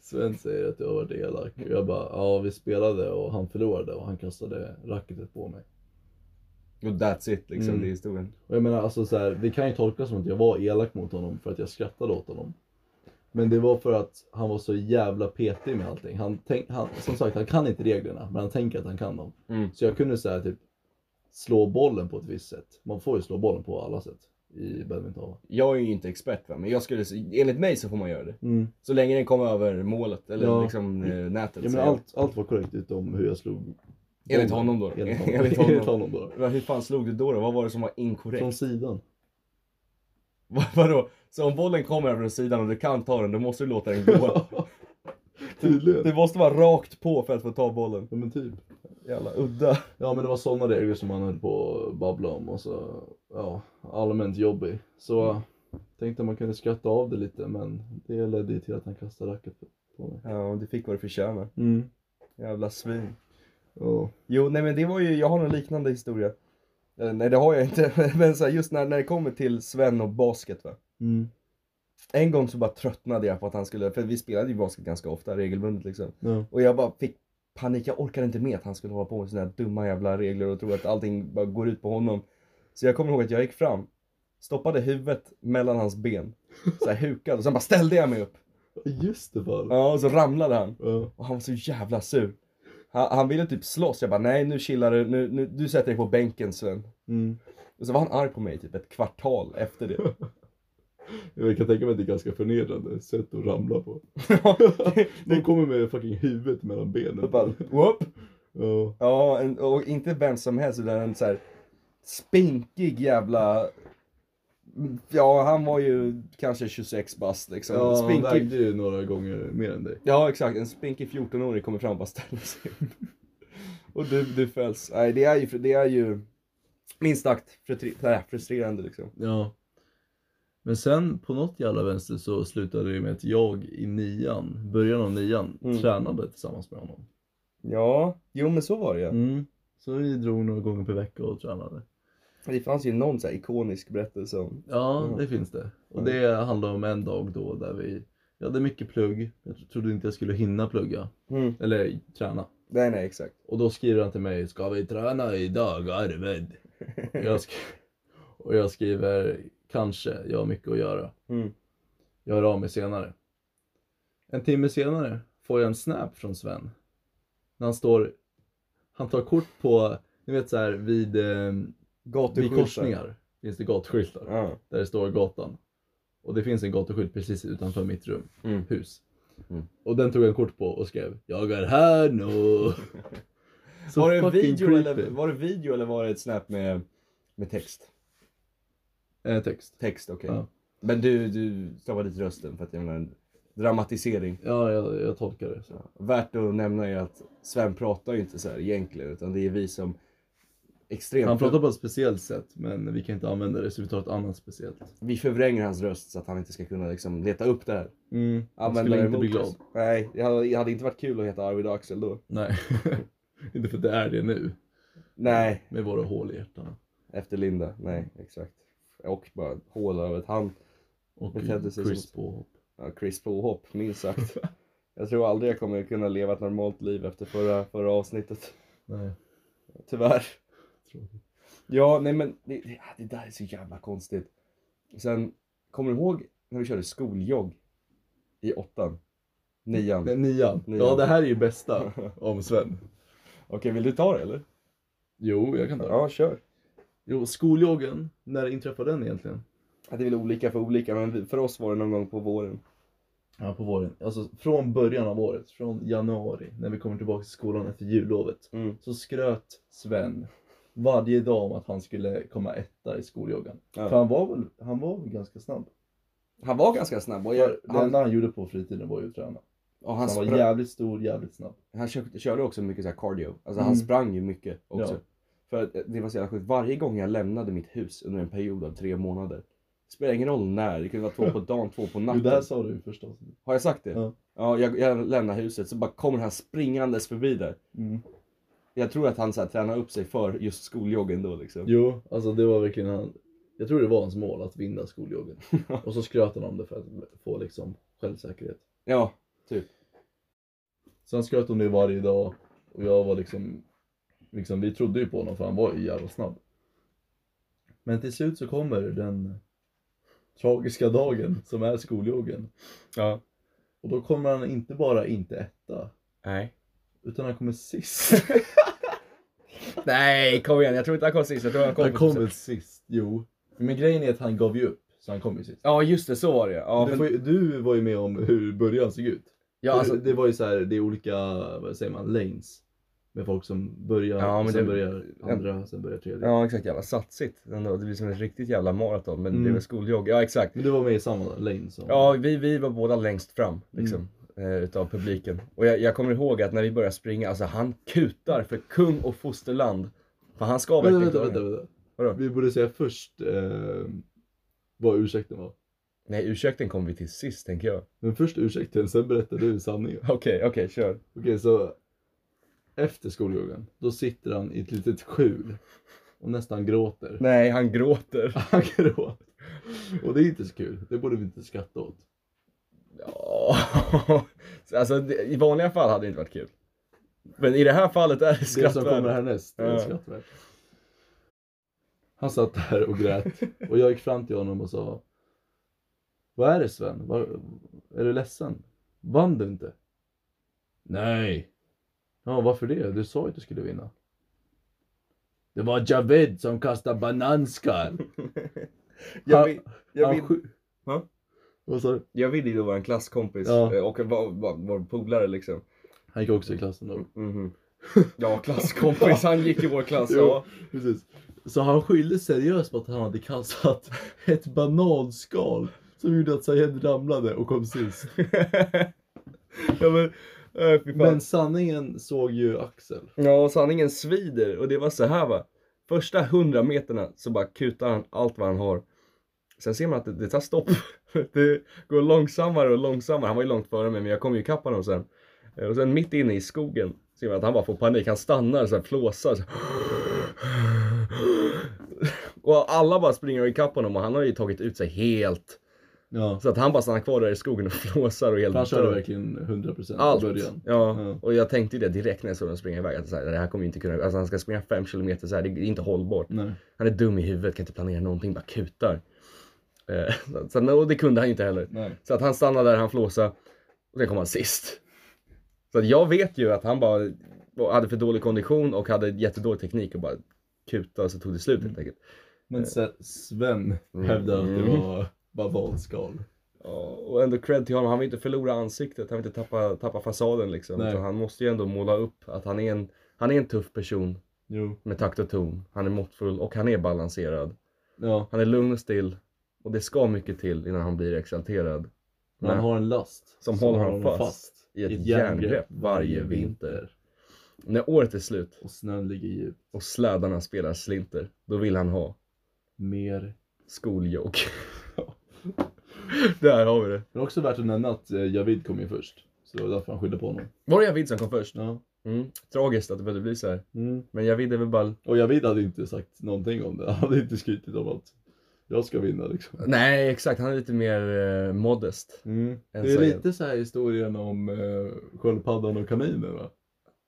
[SPEAKER 2] Sven säger att jag har varit elak. Och jag bara, ja vi spelade och han förlorade och han kastade racketet på mig.
[SPEAKER 3] Och that's it liksom,
[SPEAKER 2] Mm.
[SPEAKER 3] det är historien.
[SPEAKER 2] Och jag menar alltså så här, det kan ju tolkas som att jag var elak mot honom för att jag skrattade åt honom. Men det var för att han var så jävla petig med allting. Han tänk, han, som sagt, han kan inte reglerna, men han tänker att han kan dem.
[SPEAKER 3] Mm.
[SPEAKER 2] Så jag kunde säga typ slå bollen på ett visst sätt. Man får ju slå bollen på alla sätt i badminton. va?
[SPEAKER 3] Jag är ju inte expert va, men jag skulle, enligt mig så får man göra det.
[SPEAKER 2] Mm.
[SPEAKER 3] Så länge den kommer över målet eller
[SPEAKER 2] Ja.
[SPEAKER 3] liksom eh, nätet.
[SPEAKER 2] Ja,
[SPEAKER 3] så
[SPEAKER 2] men allt, allt var korrekt utom hur jag slog.
[SPEAKER 3] Enligt honom då.
[SPEAKER 2] Enligt honom,
[SPEAKER 3] Enligt honom.
[SPEAKER 2] Enligt honom då.
[SPEAKER 3] Va, Hur fan slog du då? då? Vad var det som var inkorrekt?
[SPEAKER 2] Från sidan.
[SPEAKER 3] Va, vadå? Så om bollen kommer över sidan och du kan ta den, då måste du låta den gå.
[SPEAKER 2] Tydligen.
[SPEAKER 3] du måste vara rakt på för att få ta bollen.
[SPEAKER 2] Ja men typ.
[SPEAKER 3] Jävla udda.
[SPEAKER 2] Ja men det var sådana regler som han höll på att babbla om och så, ja, allmänt jobbig. Så tänkte man kunde skratta av det lite men det ledde ju till att han kastade racket på mig.
[SPEAKER 3] Ja, och du fick vad du förtjänar.
[SPEAKER 2] Mm.
[SPEAKER 3] Jävla svin.
[SPEAKER 2] Ja.
[SPEAKER 3] Jo, nej men det var ju, jag har en liknande historia. Eller, nej det har jag inte, men så här, just när, när det kommer till Sven och basket va.
[SPEAKER 2] Mm.
[SPEAKER 3] En gång så bara tröttnade jag på att han skulle, för vi spelade ju basket ganska ofta, regelbundet liksom.
[SPEAKER 2] Ja.
[SPEAKER 3] Och jag bara fick panik, jag orkade inte med att han skulle hålla på med såna här dumma jävla regler och tro att allting bara går ut på honom. Så jag kommer ihåg att jag gick fram, stoppade huvudet mellan hans ben, så här hukad och sen bara ställde jag mig upp.
[SPEAKER 2] Just det bara.
[SPEAKER 3] Ja, och så ramlade han.
[SPEAKER 2] Ja.
[SPEAKER 3] Och han var så jävla sur. Han, han ville typ slåss, jag bara nej nu chillar du, nu, nu, du sätter dig på bänken Sven.
[SPEAKER 2] Mm.
[SPEAKER 3] Och så var han arg på mig typ ett kvartal efter det.
[SPEAKER 2] Jag kan tänka mig att det är ganska förnedrande sätt att ramla på. De
[SPEAKER 3] det
[SPEAKER 2] kommer med fucking huvudet mellan
[SPEAKER 3] jag
[SPEAKER 2] benen.
[SPEAKER 3] bara, whoop.
[SPEAKER 2] Ja.
[SPEAKER 3] Ja, en, och inte vem som helst utan en så här spinkig jävla... Ja, han var ju kanske 26 bast liksom.
[SPEAKER 2] Ja, han
[SPEAKER 3] spinkig...
[SPEAKER 2] vägde ju några gånger mer än dig.
[SPEAKER 3] Ja, exakt. En spinkig 14-åring kommer fram och bara ställer sig upp. Och du, du fälls. Nej, det är ju, det är ju minst sagt frustri- nej, frustrerande liksom.
[SPEAKER 2] Ja. Men sen på något jävla vänster så slutade det med att jag i nian, början av nian,
[SPEAKER 3] Mm.
[SPEAKER 2] tränade tillsammans med honom.
[SPEAKER 3] Ja, jo men så var det ja.
[SPEAKER 2] Mm. Så vi drog några gånger per vecka och tränade.
[SPEAKER 3] Det fanns ju någon så här ikonisk berättelse om...
[SPEAKER 2] Ja,
[SPEAKER 3] Ja.
[SPEAKER 2] det finns det. Och
[SPEAKER 3] Ja.
[SPEAKER 2] det handlade om en dag då där vi, jag hade mycket plugg. Jag trodde inte jag skulle hinna plugga,
[SPEAKER 3] Mm.
[SPEAKER 2] eller träna.
[SPEAKER 3] Nej, nej, exakt.
[SPEAKER 2] Och då skriver han till mig, ska vi träna idag Arvid? Jag sk- och jag skriver, kanske, jag har mycket att göra.
[SPEAKER 3] Mm.
[SPEAKER 2] Jag hör av mig senare. En timme senare får jag en snap från Sven. När han står, han tar kort på, ni vet så här vid, eh, vid
[SPEAKER 3] Gatuskyltar.
[SPEAKER 2] korsningar finns det gatuskyltar.
[SPEAKER 3] Ja.
[SPEAKER 2] Där det står gatan. Och det finns en gatuskylt precis utanför mitt rum,
[SPEAKER 3] Mm.
[SPEAKER 2] hus.
[SPEAKER 3] Mm.
[SPEAKER 2] Och den tog han kort på och skrev, jag är här nu. Så
[SPEAKER 3] var, det en
[SPEAKER 2] fucking
[SPEAKER 3] video eller,
[SPEAKER 2] creepy.
[SPEAKER 3] var det video eller var det ett snap med, med text?
[SPEAKER 2] Eh, text.
[SPEAKER 3] Text, okej.
[SPEAKER 2] Ja.
[SPEAKER 3] Men du, du stavade dit rösten för att jag menar en dramatisering.
[SPEAKER 2] Ja, jag, jag tolkar det så.
[SPEAKER 3] Värt att nämna är att Sven pratar ju inte så här egentligen utan det är vi som extremt...
[SPEAKER 2] Han pratar på ett speciellt sätt men vi kan inte använda det så vi tar ett annat speciellt.
[SPEAKER 3] Vi förvränger hans röst så att han inte ska kunna liksom leta upp det här.
[SPEAKER 2] Mm. Han
[SPEAKER 3] Använda det
[SPEAKER 2] skulle inte bli
[SPEAKER 3] emot
[SPEAKER 2] glad.
[SPEAKER 3] oss. Nej, det hade, det hade inte varit kul att heta Arvid och Axel då.
[SPEAKER 2] Nej. inte för att det är det nu.
[SPEAKER 3] Nej,
[SPEAKER 2] Med våra hål i hjärtan.
[SPEAKER 3] efter Linda. Nej, exakt. Och bara hål över ett hand.
[SPEAKER 2] Och
[SPEAKER 3] Betedde sig
[SPEAKER 2] Chris
[SPEAKER 3] som-
[SPEAKER 2] påhopp.
[SPEAKER 3] Ja, Chris Påhopp, minst sagt. Jag tror aldrig jag kommer kunna leva ett normalt liv efter förra, förra avsnittet.
[SPEAKER 2] Nej.
[SPEAKER 3] Tyvärr.
[SPEAKER 2] tråkigt.
[SPEAKER 3] Ja, nej men det, det, ah, det där är så jävla konstigt. Sen, kommer du ihåg när vi körde skoljogg? I åttan? Nian?
[SPEAKER 2] Nej, Nian.
[SPEAKER 3] Nian.
[SPEAKER 2] Ja det här är ju bästa om Sven.
[SPEAKER 3] Okej, vill du ta det eller?
[SPEAKER 2] Jo jag kan ta det.
[SPEAKER 3] Ja, kör.
[SPEAKER 2] Jo skoljoggen, när inträffade den egentligen?
[SPEAKER 3] Ja, Det är väl olika för olika, men vi- för oss var det någon gång på våren.
[SPEAKER 2] Ja på våren. Alltså från början av året, från januari när vi kommer tillbaka till skolan efter jullovet.
[SPEAKER 3] Mm.
[SPEAKER 2] Så skröt Sven varje dag om att han skulle komma etta i skoljoggen.
[SPEAKER 3] Ja.
[SPEAKER 2] För han var väl, han var väl ganska snabb.
[SPEAKER 3] Han var ganska snabb och, jag,
[SPEAKER 2] det
[SPEAKER 3] han,
[SPEAKER 2] enda han gjorde på fritiden var ju att träna.
[SPEAKER 3] och
[SPEAKER 2] Han,
[SPEAKER 3] han,
[SPEAKER 2] var
[SPEAKER 3] sprang,
[SPEAKER 2] jävligt stor, jävligt snabb.
[SPEAKER 3] han kö- körde också mycket så här cardio. Alltså han
[SPEAKER 2] Mm.
[SPEAKER 3] sprang ju mycket också.
[SPEAKER 2] Ja.
[SPEAKER 3] För att eh, det var så jävla sjukt. Varje gång jag lämnade mitt hus under en period av tre månader. Det spelar ingen roll när. Det kunde vara två på dagen, två på
[SPEAKER 2] Jo,
[SPEAKER 3] natten.
[SPEAKER 2] det här sa du ju förstås.
[SPEAKER 3] Har jag sagt det?
[SPEAKER 2] Ja.
[SPEAKER 3] Ja, jag, jag lämnar huset så bara kommer han springandes förbi där.
[SPEAKER 2] Mm.
[SPEAKER 3] Jag tror att han så här, tränar upp sig för just skoljoggen då liksom.
[SPEAKER 2] Jo, alltså det var verkligen han. Jag tror det var hans mål att vinna skoljoggen. Och så skröt han om det för att få liksom självsäkerhet.
[SPEAKER 3] Ja,
[SPEAKER 2] Så han skröt om det varje dag och jag var liksom, liksom vi trodde ju på honom för han var ju jävla snabb. Men till slut så kommer den tragiska dagen som är skoljoggen.
[SPEAKER 3] Ja.
[SPEAKER 2] Och då kommer han inte bara inte etta,
[SPEAKER 3] nej.
[SPEAKER 2] utan han kommer sist.
[SPEAKER 3] Nej, kom igen. Jag tror inte han kom sist. Jag tror han kom,
[SPEAKER 2] Han
[SPEAKER 3] på
[SPEAKER 2] kom
[SPEAKER 3] sist.
[SPEAKER 2] väl sist, jo. Men grejen är att han gav ju upp, så han kom ju sist.
[SPEAKER 3] Ja, just det. Så var det ja.
[SPEAKER 2] du,
[SPEAKER 3] men-
[SPEAKER 2] får ju, du var ju med om hur början såg ut.
[SPEAKER 3] ja, alltså,
[SPEAKER 2] det, det var ju så här, det är olika, vad säger man, lanes. Med folk som börjar,
[SPEAKER 3] Ja, men
[SPEAKER 2] sen
[SPEAKER 3] det-
[SPEAKER 2] börjar andra, sen börjar tredje.
[SPEAKER 3] ja, exakt. Jävla satsigt ändå. Det blir som ett riktigt jävla maraton. Men det är
[SPEAKER 2] Mm.
[SPEAKER 3] väl skoljogg. Ja, exakt.
[SPEAKER 2] Men du var med i samma lane som...
[SPEAKER 3] Ja, vi, vi var båda längst fram liksom.
[SPEAKER 2] Mm.
[SPEAKER 3] eh, Utav publiken. Och jag, jag kommer ihåg att när vi började springa, alltså han kutar för kung och fosterland. För han ska
[SPEAKER 2] vänta,
[SPEAKER 3] verkligen
[SPEAKER 2] vänta,
[SPEAKER 3] klara
[SPEAKER 2] vänta,
[SPEAKER 3] det.
[SPEAKER 2] vänta.
[SPEAKER 3] Vadå?
[SPEAKER 2] Vi borde säga först eh, vad ursäkten var.
[SPEAKER 3] Nej, ursäkten kom vi till sist tänker jag.
[SPEAKER 2] Men först ursäkten, sen berättar du sanningen.
[SPEAKER 3] Okej, okej, kör.
[SPEAKER 2] Okej, så efter skoljoggen, då sitter han i ett litet skjul och nästan gråter.
[SPEAKER 3] Nej, han gråter.
[SPEAKER 2] Han gråter. Och det är inte så kul, det borde vi inte skratta åt.
[SPEAKER 3] Ja. alltså, det, i vanliga fall hade det inte varit kul. Men i det här fallet är det
[SPEAKER 2] Det som kommer
[SPEAKER 3] skrattvärt.
[SPEAKER 2] härnäst, det är
[SPEAKER 3] Ja.
[SPEAKER 2] skrattvärt. Han satt där och grät och jag gick fram till honom och sa Vad är det Sven? Var, är du ledsen? Vann du inte? Nej. Ja, varför det? Du sa ju att du skulle vinna. Det var Javed som kastade bananskal.
[SPEAKER 3] Jag,
[SPEAKER 2] Han-
[SPEAKER 3] vill, jag,
[SPEAKER 2] han
[SPEAKER 3] vill,
[SPEAKER 2] skj-
[SPEAKER 3] Va?
[SPEAKER 2] Vad sa du?
[SPEAKER 3] jag vill ju då vara en klasskompis
[SPEAKER 2] Ja.
[SPEAKER 3] eh, och vara var, vår polare liksom.
[SPEAKER 2] Han gick också i klassen då.
[SPEAKER 3] Mhm. Ja, klasskompis. Han gick i vår klass.
[SPEAKER 2] Jo.
[SPEAKER 3] Ja.
[SPEAKER 2] Precis. Så han skyllde seriöst på att han hade kastat ett bananskal som gjorde att Sayed ramlade och kom sist.
[SPEAKER 3] ja, men, äh, fy fan.
[SPEAKER 2] Men sanningen såg ju Axel.
[SPEAKER 3] Ja, och sanningen svider och det var så här va. Första hundra meterna så bara kutar han allt vad han har. Sen ser man att det, det tar stopp. Det går långsammare och långsammare. Han var ju långt före mig men jag kom ju ikapp honom sen. Eh, Och sen mitt inne i skogen ser man att han bara får panik. Han stannar så här flåsar. Så här. Och alla bara springer ikapp honom och han har ju tagit ut sig helt.
[SPEAKER 2] Ja.
[SPEAKER 3] Så att han bara stannar kvar där i skogen och flåsar och helt
[SPEAKER 2] Han körde
[SPEAKER 3] dör.
[SPEAKER 2] verkligen 100%
[SPEAKER 3] Allt.
[SPEAKER 2] i början.
[SPEAKER 3] Ja.
[SPEAKER 2] Ja.
[SPEAKER 3] och jag tänkte ju det direkt när jag såg dem springa iväg. Att så här, det här kommer ju inte kunna, alltså han ska springa 5 kilometer så här, det är inte hållbart.
[SPEAKER 2] Nej.
[SPEAKER 3] Han är dum i huvudet, kan inte planera någonting, bara kutar. Eh, så- så, och det kunde han ju inte heller.
[SPEAKER 2] Nej.
[SPEAKER 3] Så att han stannade där, han flåsade och sen kom han sist. Så att jag vet ju att han bara hade för dålig kondition och hade jättedålig teknik och bara kutade och så tog det slut helt enkelt.
[SPEAKER 2] Men se- Sven hävdade att det var bananskal.
[SPEAKER 3] Ja, Och ändå cred till honom, han vill inte förlora ansiktet, han vill inte tappa, tappa fasaden liksom.
[SPEAKER 2] Nej.
[SPEAKER 3] Utan han måste ju ändå måla upp att han är en, han är en tuff person
[SPEAKER 2] Jo.
[SPEAKER 3] med takt och ton. Han är måttfull och han är balanserad.
[SPEAKER 2] Ja.
[SPEAKER 3] Han är lugn och still. Och det ska mycket till innan han blir exalterad.
[SPEAKER 2] Men han
[SPEAKER 3] Nej.
[SPEAKER 2] har en last
[SPEAKER 3] Som håller honom fast i ett järngrepp varje vinter. När året är slut
[SPEAKER 2] och snön ligger djupt.
[SPEAKER 3] och slädarna spelar slinter, då vill han ha
[SPEAKER 2] Mer.
[SPEAKER 3] skoljoke. Där har vi det.
[SPEAKER 2] Men också värt att nämna att eh, Javid kom ju först. Så det var därför han skyllde på honom.
[SPEAKER 3] Var det Javid som kom först?
[SPEAKER 2] Ja.
[SPEAKER 3] Mm. Tragiskt att det behövde bli så här.
[SPEAKER 2] Mm.
[SPEAKER 3] Men Javid är väl bara...
[SPEAKER 2] Och Javid hade inte sagt någonting om det. Han hade inte skrytit om att jag ska vinna liksom.
[SPEAKER 3] Nej, exakt. Han är lite mer eh, modest.
[SPEAKER 2] Det
[SPEAKER 3] än
[SPEAKER 2] är
[SPEAKER 3] Sagan.
[SPEAKER 2] lite så här historien om eh, sköldpaddan och kaninen va?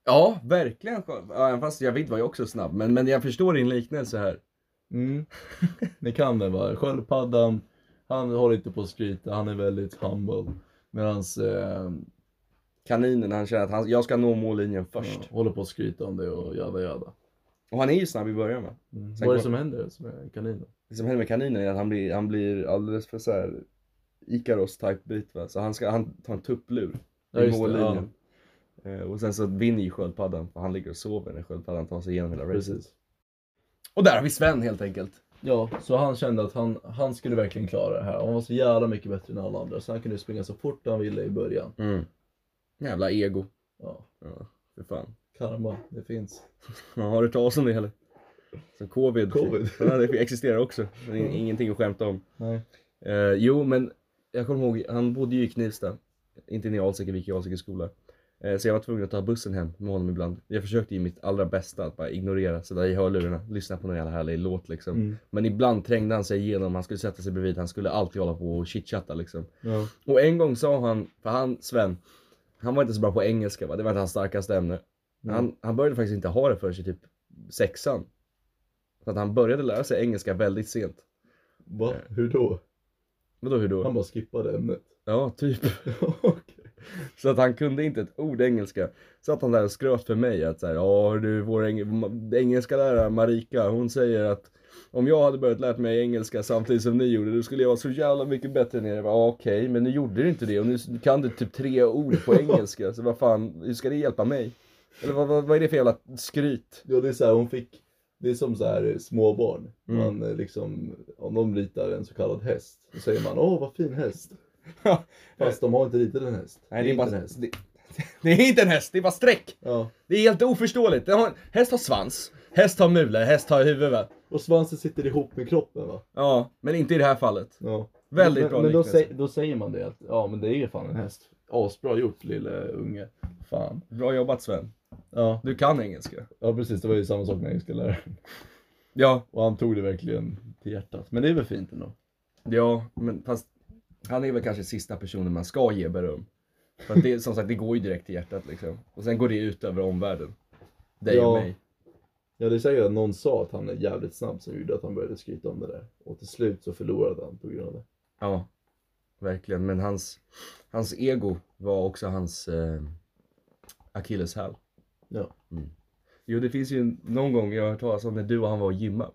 [SPEAKER 3] Ja, verkligen. Ja, även fast Javid var ju också snabb. Men, men jag förstår din liknelse här.
[SPEAKER 2] Mm. Ni kan den va? Sköldpaddan, han håller inte på att skryta, han är väldigt humble. Medans eh,
[SPEAKER 3] Kaninen, han känner att han, jag ska nå mållinjen först.
[SPEAKER 2] ja, håller på att skryta om det och jada jada.
[SPEAKER 3] Och han är ju snabb i början va?
[SPEAKER 2] Mm.
[SPEAKER 3] Sen
[SPEAKER 2] Vad är det
[SPEAKER 3] kom-
[SPEAKER 2] som händer som är kaninen?
[SPEAKER 3] Det som händer med kaninen är att han blir, han blir alldeles för så här Ikaros type bit va. Så han, ska, han tar en tupplur
[SPEAKER 2] Ja,
[SPEAKER 3] i
[SPEAKER 2] just det,
[SPEAKER 3] mållinjen. Eh, Och sen så vinner ju sköldpaddan för han ligger och sover när sköldpaddan tar sig igenom hela racet.
[SPEAKER 2] Precis.
[SPEAKER 3] Och där har vi Sven helt enkelt.
[SPEAKER 2] Ja, så han kände att han, han skulle verkligen klara det här. Han var så jävla mycket bättre än alla andra så han kunde springa så fort han ville i början.
[SPEAKER 3] Jävla ego.
[SPEAKER 2] Ja,
[SPEAKER 3] Mm. Ja, för fan.
[SPEAKER 2] karma, det finns.
[SPEAKER 3] Ja, har du hört talas om det heller? Som covid.
[SPEAKER 2] Covid.
[SPEAKER 3] Ja, det existerar också. Men det är ingenting att skämta om.
[SPEAKER 2] Nej.
[SPEAKER 3] Eh, jo, men jag kommer ihåg, han bodde ju i Knivsta. Inte inne i Alsike, vi gick i Alsike skola. Eh, så jag var tvungen att ta bussen hem med honom ibland. Jag försökte ju mitt allra bästa att bara ignorera, sätta i hörlurarna, lyssna på någon jävla härlig låt liksom.
[SPEAKER 2] Mm.
[SPEAKER 3] Men ibland trängde han sig igenom, han skulle sätta sig bredvid, han skulle alltid hålla på och chitchatta liksom.
[SPEAKER 2] Ja.
[SPEAKER 3] Och en gång sa han, för han, Sven, han var inte så bra på engelska va, det var inte hans starkaste ämne.
[SPEAKER 2] Mm.
[SPEAKER 3] Men Han, han började faktiskt inte ha det förrän i typ sexan. Så att han började lära sig engelska väldigt sent.
[SPEAKER 2] Va? Hur då?
[SPEAKER 3] Vadå hur då?
[SPEAKER 2] Han bara skippade ämnet.
[SPEAKER 3] Ja, typ.
[SPEAKER 2] Okej.
[SPEAKER 3] Så att han kunde inte ett ord engelska. Så att han där och skröt för mig att så här, ja du, vår eng- engelska lärare Marika, hon säger att om jag hade börjat lärt mig engelska samtidigt som ni gjorde, då skulle jag vara så jävla mycket bättre än er. Jag bara, Ja, okej, men nu gjorde du inte det och nu kan du typ tre ord på engelska. Så vad fan, hur ska det hjälpa mig? Eller vad, vad, vad är det för jävla skryt?
[SPEAKER 2] Ja, det är så här, hon fick, det är som så här eh, småbarn.
[SPEAKER 3] Mm.
[SPEAKER 2] Man eh, liksom, om de ritar en så kallad häst, då säger man åh vad fin häst.
[SPEAKER 3] Ja.
[SPEAKER 2] Fast de har inte ritat en häst. inte en häst.
[SPEAKER 3] det, det är inte en häst, det är bara streck!
[SPEAKER 2] Ja.
[SPEAKER 3] Det är helt oförståeligt. Den har, häst har svans, häst har mule, häst har huvud va?
[SPEAKER 2] Och svansen sitter ihop med kroppen va?
[SPEAKER 3] Ja, men inte i det här fallet.
[SPEAKER 2] Ja.
[SPEAKER 3] Väldigt
[SPEAKER 2] men,
[SPEAKER 3] bra
[SPEAKER 2] Men då,
[SPEAKER 3] liknelse.
[SPEAKER 2] sä- då säger man det att, ja men det är ju fan en häst. Asbra gjort lille unge. Fan.
[SPEAKER 3] Bra jobbat Sven.
[SPEAKER 2] Ja,
[SPEAKER 3] Du kan engelska.
[SPEAKER 2] ja precis, det var ju samma sak med engelskaläraren.
[SPEAKER 3] Ja,
[SPEAKER 2] Och han tog det verkligen till hjärtat. Men det är väl fint ändå.
[SPEAKER 3] ja, men fast han är väl kanske sista personen man ska ge beröm. För att det, som sagt, det går ju direkt till hjärtat liksom. Och sen går det ut över omvärlden. Dig och
[SPEAKER 2] Ja.
[SPEAKER 3] mig.
[SPEAKER 2] Ja, det är säkert att någon sa att han är jävligt snabb som gjorde att han började skryta om det där. Och till slut så förlorade han på grund av det.
[SPEAKER 3] Ja, verkligen. Men hans, hans ego var också hans eh, akilleshäl.
[SPEAKER 2] Ja.
[SPEAKER 3] Mm. Jo, det finns ju en- någon gång jag har hört talas om när du och han var och gymma.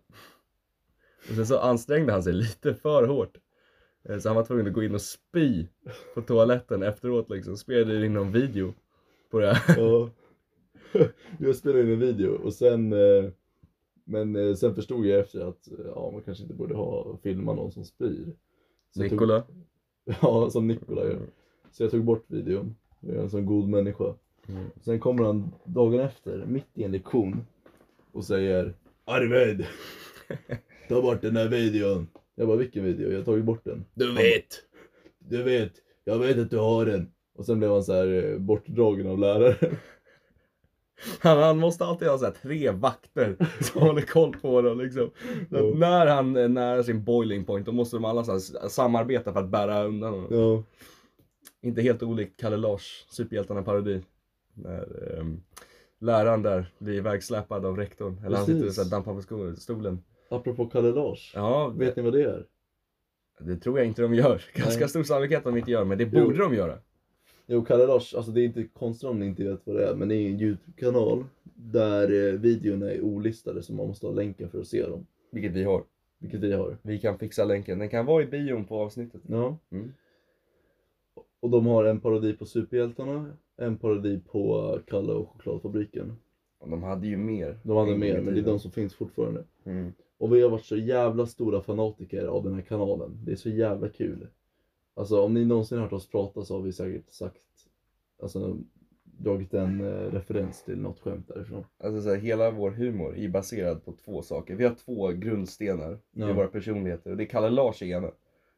[SPEAKER 3] Och sen så ansträngde han sig lite för hårt. Eh, Så han var tvungen att gå in och spy på toaletten efteråt liksom. Spelade in någon video på det här.
[SPEAKER 2] Ja. jag spelade in en video och sen eh, Men eh, sen förstod jag efter att eh, ja, man kanske inte borde ha filma någon som spyr. Så jag
[SPEAKER 3] Nikola.
[SPEAKER 2] Tog, ja, som Nikola gör. Så jag tog bort videon. Jag är en sån god människa.
[SPEAKER 3] Mm.
[SPEAKER 2] Sen kommer han dagen efter, mitt i en lektion och säger Arvid! Ta bort den här videon! Jag bara, vilken video? Jag har tagit bort den.
[SPEAKER 3] Du
[SPEAKER 2] vet. Du vet, jag vet att du har den. Och sen blev han så här eh, bortdragen av läraren.
[SPEAKER 3] Han, han måste alltid ha så här tre vakter som håller koll på honom liksom. Så att när han är nära sin boiling point då måste de alla så här, samarbeta för att bära undan honom.
[SPEAKER 2] Ja.
[SPEAKER 3] Inte helt olikt Kalle Lars, Superhjältarna-parodi. När ehm, läraren där blir ivägsläpad av rektorn. Eller han sitter och
[SPEAKER 2] Precis.
[SPEAKER 3] så här dampar på sko- stolen.
[SPEAKER 2] Apropå Kalle Lars.
[SPEAKER 3] Ja,
[SPEAKER 2] Vet ni vad det är?
[SPEAKER 3] det tror jag inte de gör. Ganska
[SPEAKER 2] Nej.
[SPEAKER 3] stor sannolikhet att de inte gör, men det borde de göra.
[SPEAKER 2] Jo, Kalle Lars, alltså det är inte konstigt om ni inte vet vad det är, men det är en YouTube-kanal där eh, videorna är olistade så man måste ha länkar för att se dem.
[SPEAKER 3] Vilket vi har.
[SPEAKER 2] Vilket vi har.
[SPEAKER 3] Vi kan fixa länken. Den kan vara i bion på avsnittet.
[SPEAKER 2] Ja.
[SPEAKER 3] Mm.
[SPEAKER 2] Och de har en parodi på Superhjältarna, en parodi på eh, Kalle och Chokladfabriken.
[SPEAKER 3] Och de hade ju mer.
[SPEAKER 2] De andra
[SPEAKER 3] en gång i
[SPEAKER 2] mer, men det är
[SPEAKER 3] tiden.
[SPEAKER 2] de som finns fortfarande.
[SPEAKER 3] Mm.
[SPEAKER 2] Och vi har varit så jävla stora fanatiker av den här kanalen. Det är så jävla kul. Alltså om ni någonsin har hört oss prata så har vi säkert sagt alltså, dragit en eh, referens till något skämt därifrån.
[SPEAKER 3] Alltså så här, hela vår humor är baserad på två saker. Vi har två grundstenar i
[SPEAKER 2] Ja.
[SPEAKER 3] våra personligheter och det är Kalle Lars i ena.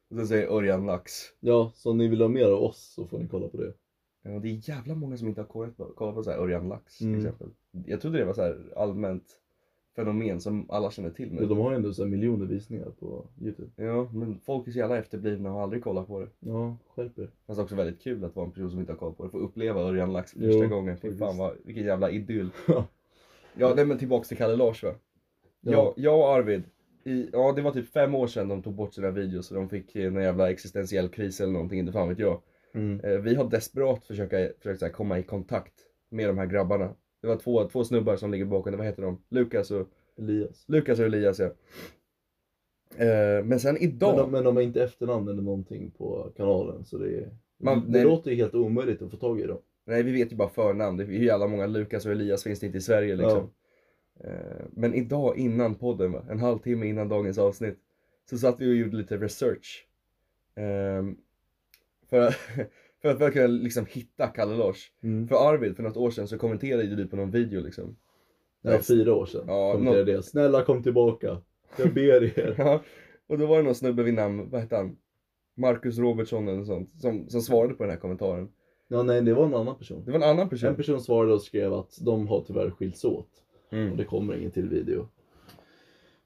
[SPEAKER 3] Och sen säger Örjan Lax.
[SPEAKER 2] Ja, så om ni vill ha mer av oss så får ni kolla på det.
[SPEAKER 3] Ja, och det är jävla många som inte har kollat på, kollat på så här Örjan Lax till
[SPEAKER 2] Mm.
[SPEAKER 3] exempel. Jag trodde det var så här allmänt fenomen som alla känner till nu.
[SPEAKER 2] Men de har ju ändå så här miljoner visningar på Youtube.
[SPEAKER 3] Ja, men folk är så jävla efterblivna och har aldrig kollat på det.
[SPEAKER 2] Ja, skärp er.
[SPEAKER 3] Fast också väldigt kul att vara en person som inte har koll på det. Få uppleva Örjan Lax för första
[SPEAKER 2] Jo,
[SPEAKER 3] gången. Fy fan
[SPEAKER 2] faktiskt.
[SPEAKER 3] vad, vilken jävla idyll.
[SPEAKER 2] Ja.
[SPEAKER 3] ja, nej men tillbaks till Kalle Lars va?
[SPEAKER 2] Ja.
[SPEAKER 3] Jag, jag och Arvid, i, ja det var typ fem år sedan de tog bort sina videos och de fick eh, någon jävla existentiell kris eller någonting, inte fan vet jag.
[SPEAKER 2] Mm.
[SPEAKER 3] Eh, Vi har desperat försöka, försökt så här, komma i kontakt med de här grabbarna. Det var två, två snubbar som ligger bakom, vad heter de? Lukas och,
[SPEAKER 2] Elias.
[SPEAKER 3] Lukas och Elias ja. Eh, Men sen idag...
[SPEAKER 2] Men de, men de har inte efternamn eller någonting på kanalen så det, är,
[SPEAKER 3] Man-
[SPEAKER 2] det
[SPEAKER 3] nej.
[SPEAKER 2] låter ju helt omöjligt att få tag i dem.
[SPEAKER 3] Nej, vi vet ju bara förnamn. Det är ju jävla många Lukas och Elias finns det inte i Sverige liksom. Eh, Men idag innan podden, va? en halvtimme innan dagens avsnitt, så satt vi och gjorde lite research. Ehm, För att, för att verkligen liksom hitta Kalle Lars.
[SPEAKER 2] Mm.
[SPEAKER 3] För Arvid, för något år sedan, så kommenterade ju du på någon video liksom.
[SPEAKER 2] Det var fyra år sedan.
[SPEAKER 3] Ja,
[SPEAKER 2] kom till det. Snälla kom tillbaka. Jag ber er.
[SPEAKER 3] Ja, och då var det någon snubbe vid namn, vad hette han? Marcus Robertsson eller något sånt, som, som svarade på den här kommentaren.
[SPEAKER 2] Ja, nej, det var en annan person.
[SPEAKER 3] Det var en annan person.
[SPEAKER 2] En person svarade och skrev att de har tyvärr skilts åt
[SPEAKER 3] Mm.
[SPEAKER 2] och det kommer ingen till video.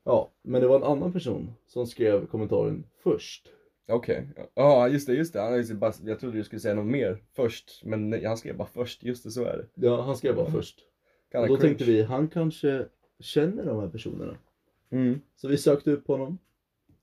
[SPEAKER 2] Ja, men det var en annan person som skrev kommentaren först.
[SPEAKER 3] Okej, ja just det, just det. Han, just det bara, jag trodde du skulle säga något mer först, men nej, han skrev bara först, just det så är det.
[SPEAKER 2] Ja, han skrev bara först.
[SPEAKER 3] Kalle
[SPEAKER 2] Och då
[SPEAKER 3] cringe.
[SPEAKER 2] tänkte vi, han kanske känner de här personerna.
[SPEAKER 3] Mm.
[SPEAKER 2] Så vi sökte upp honom.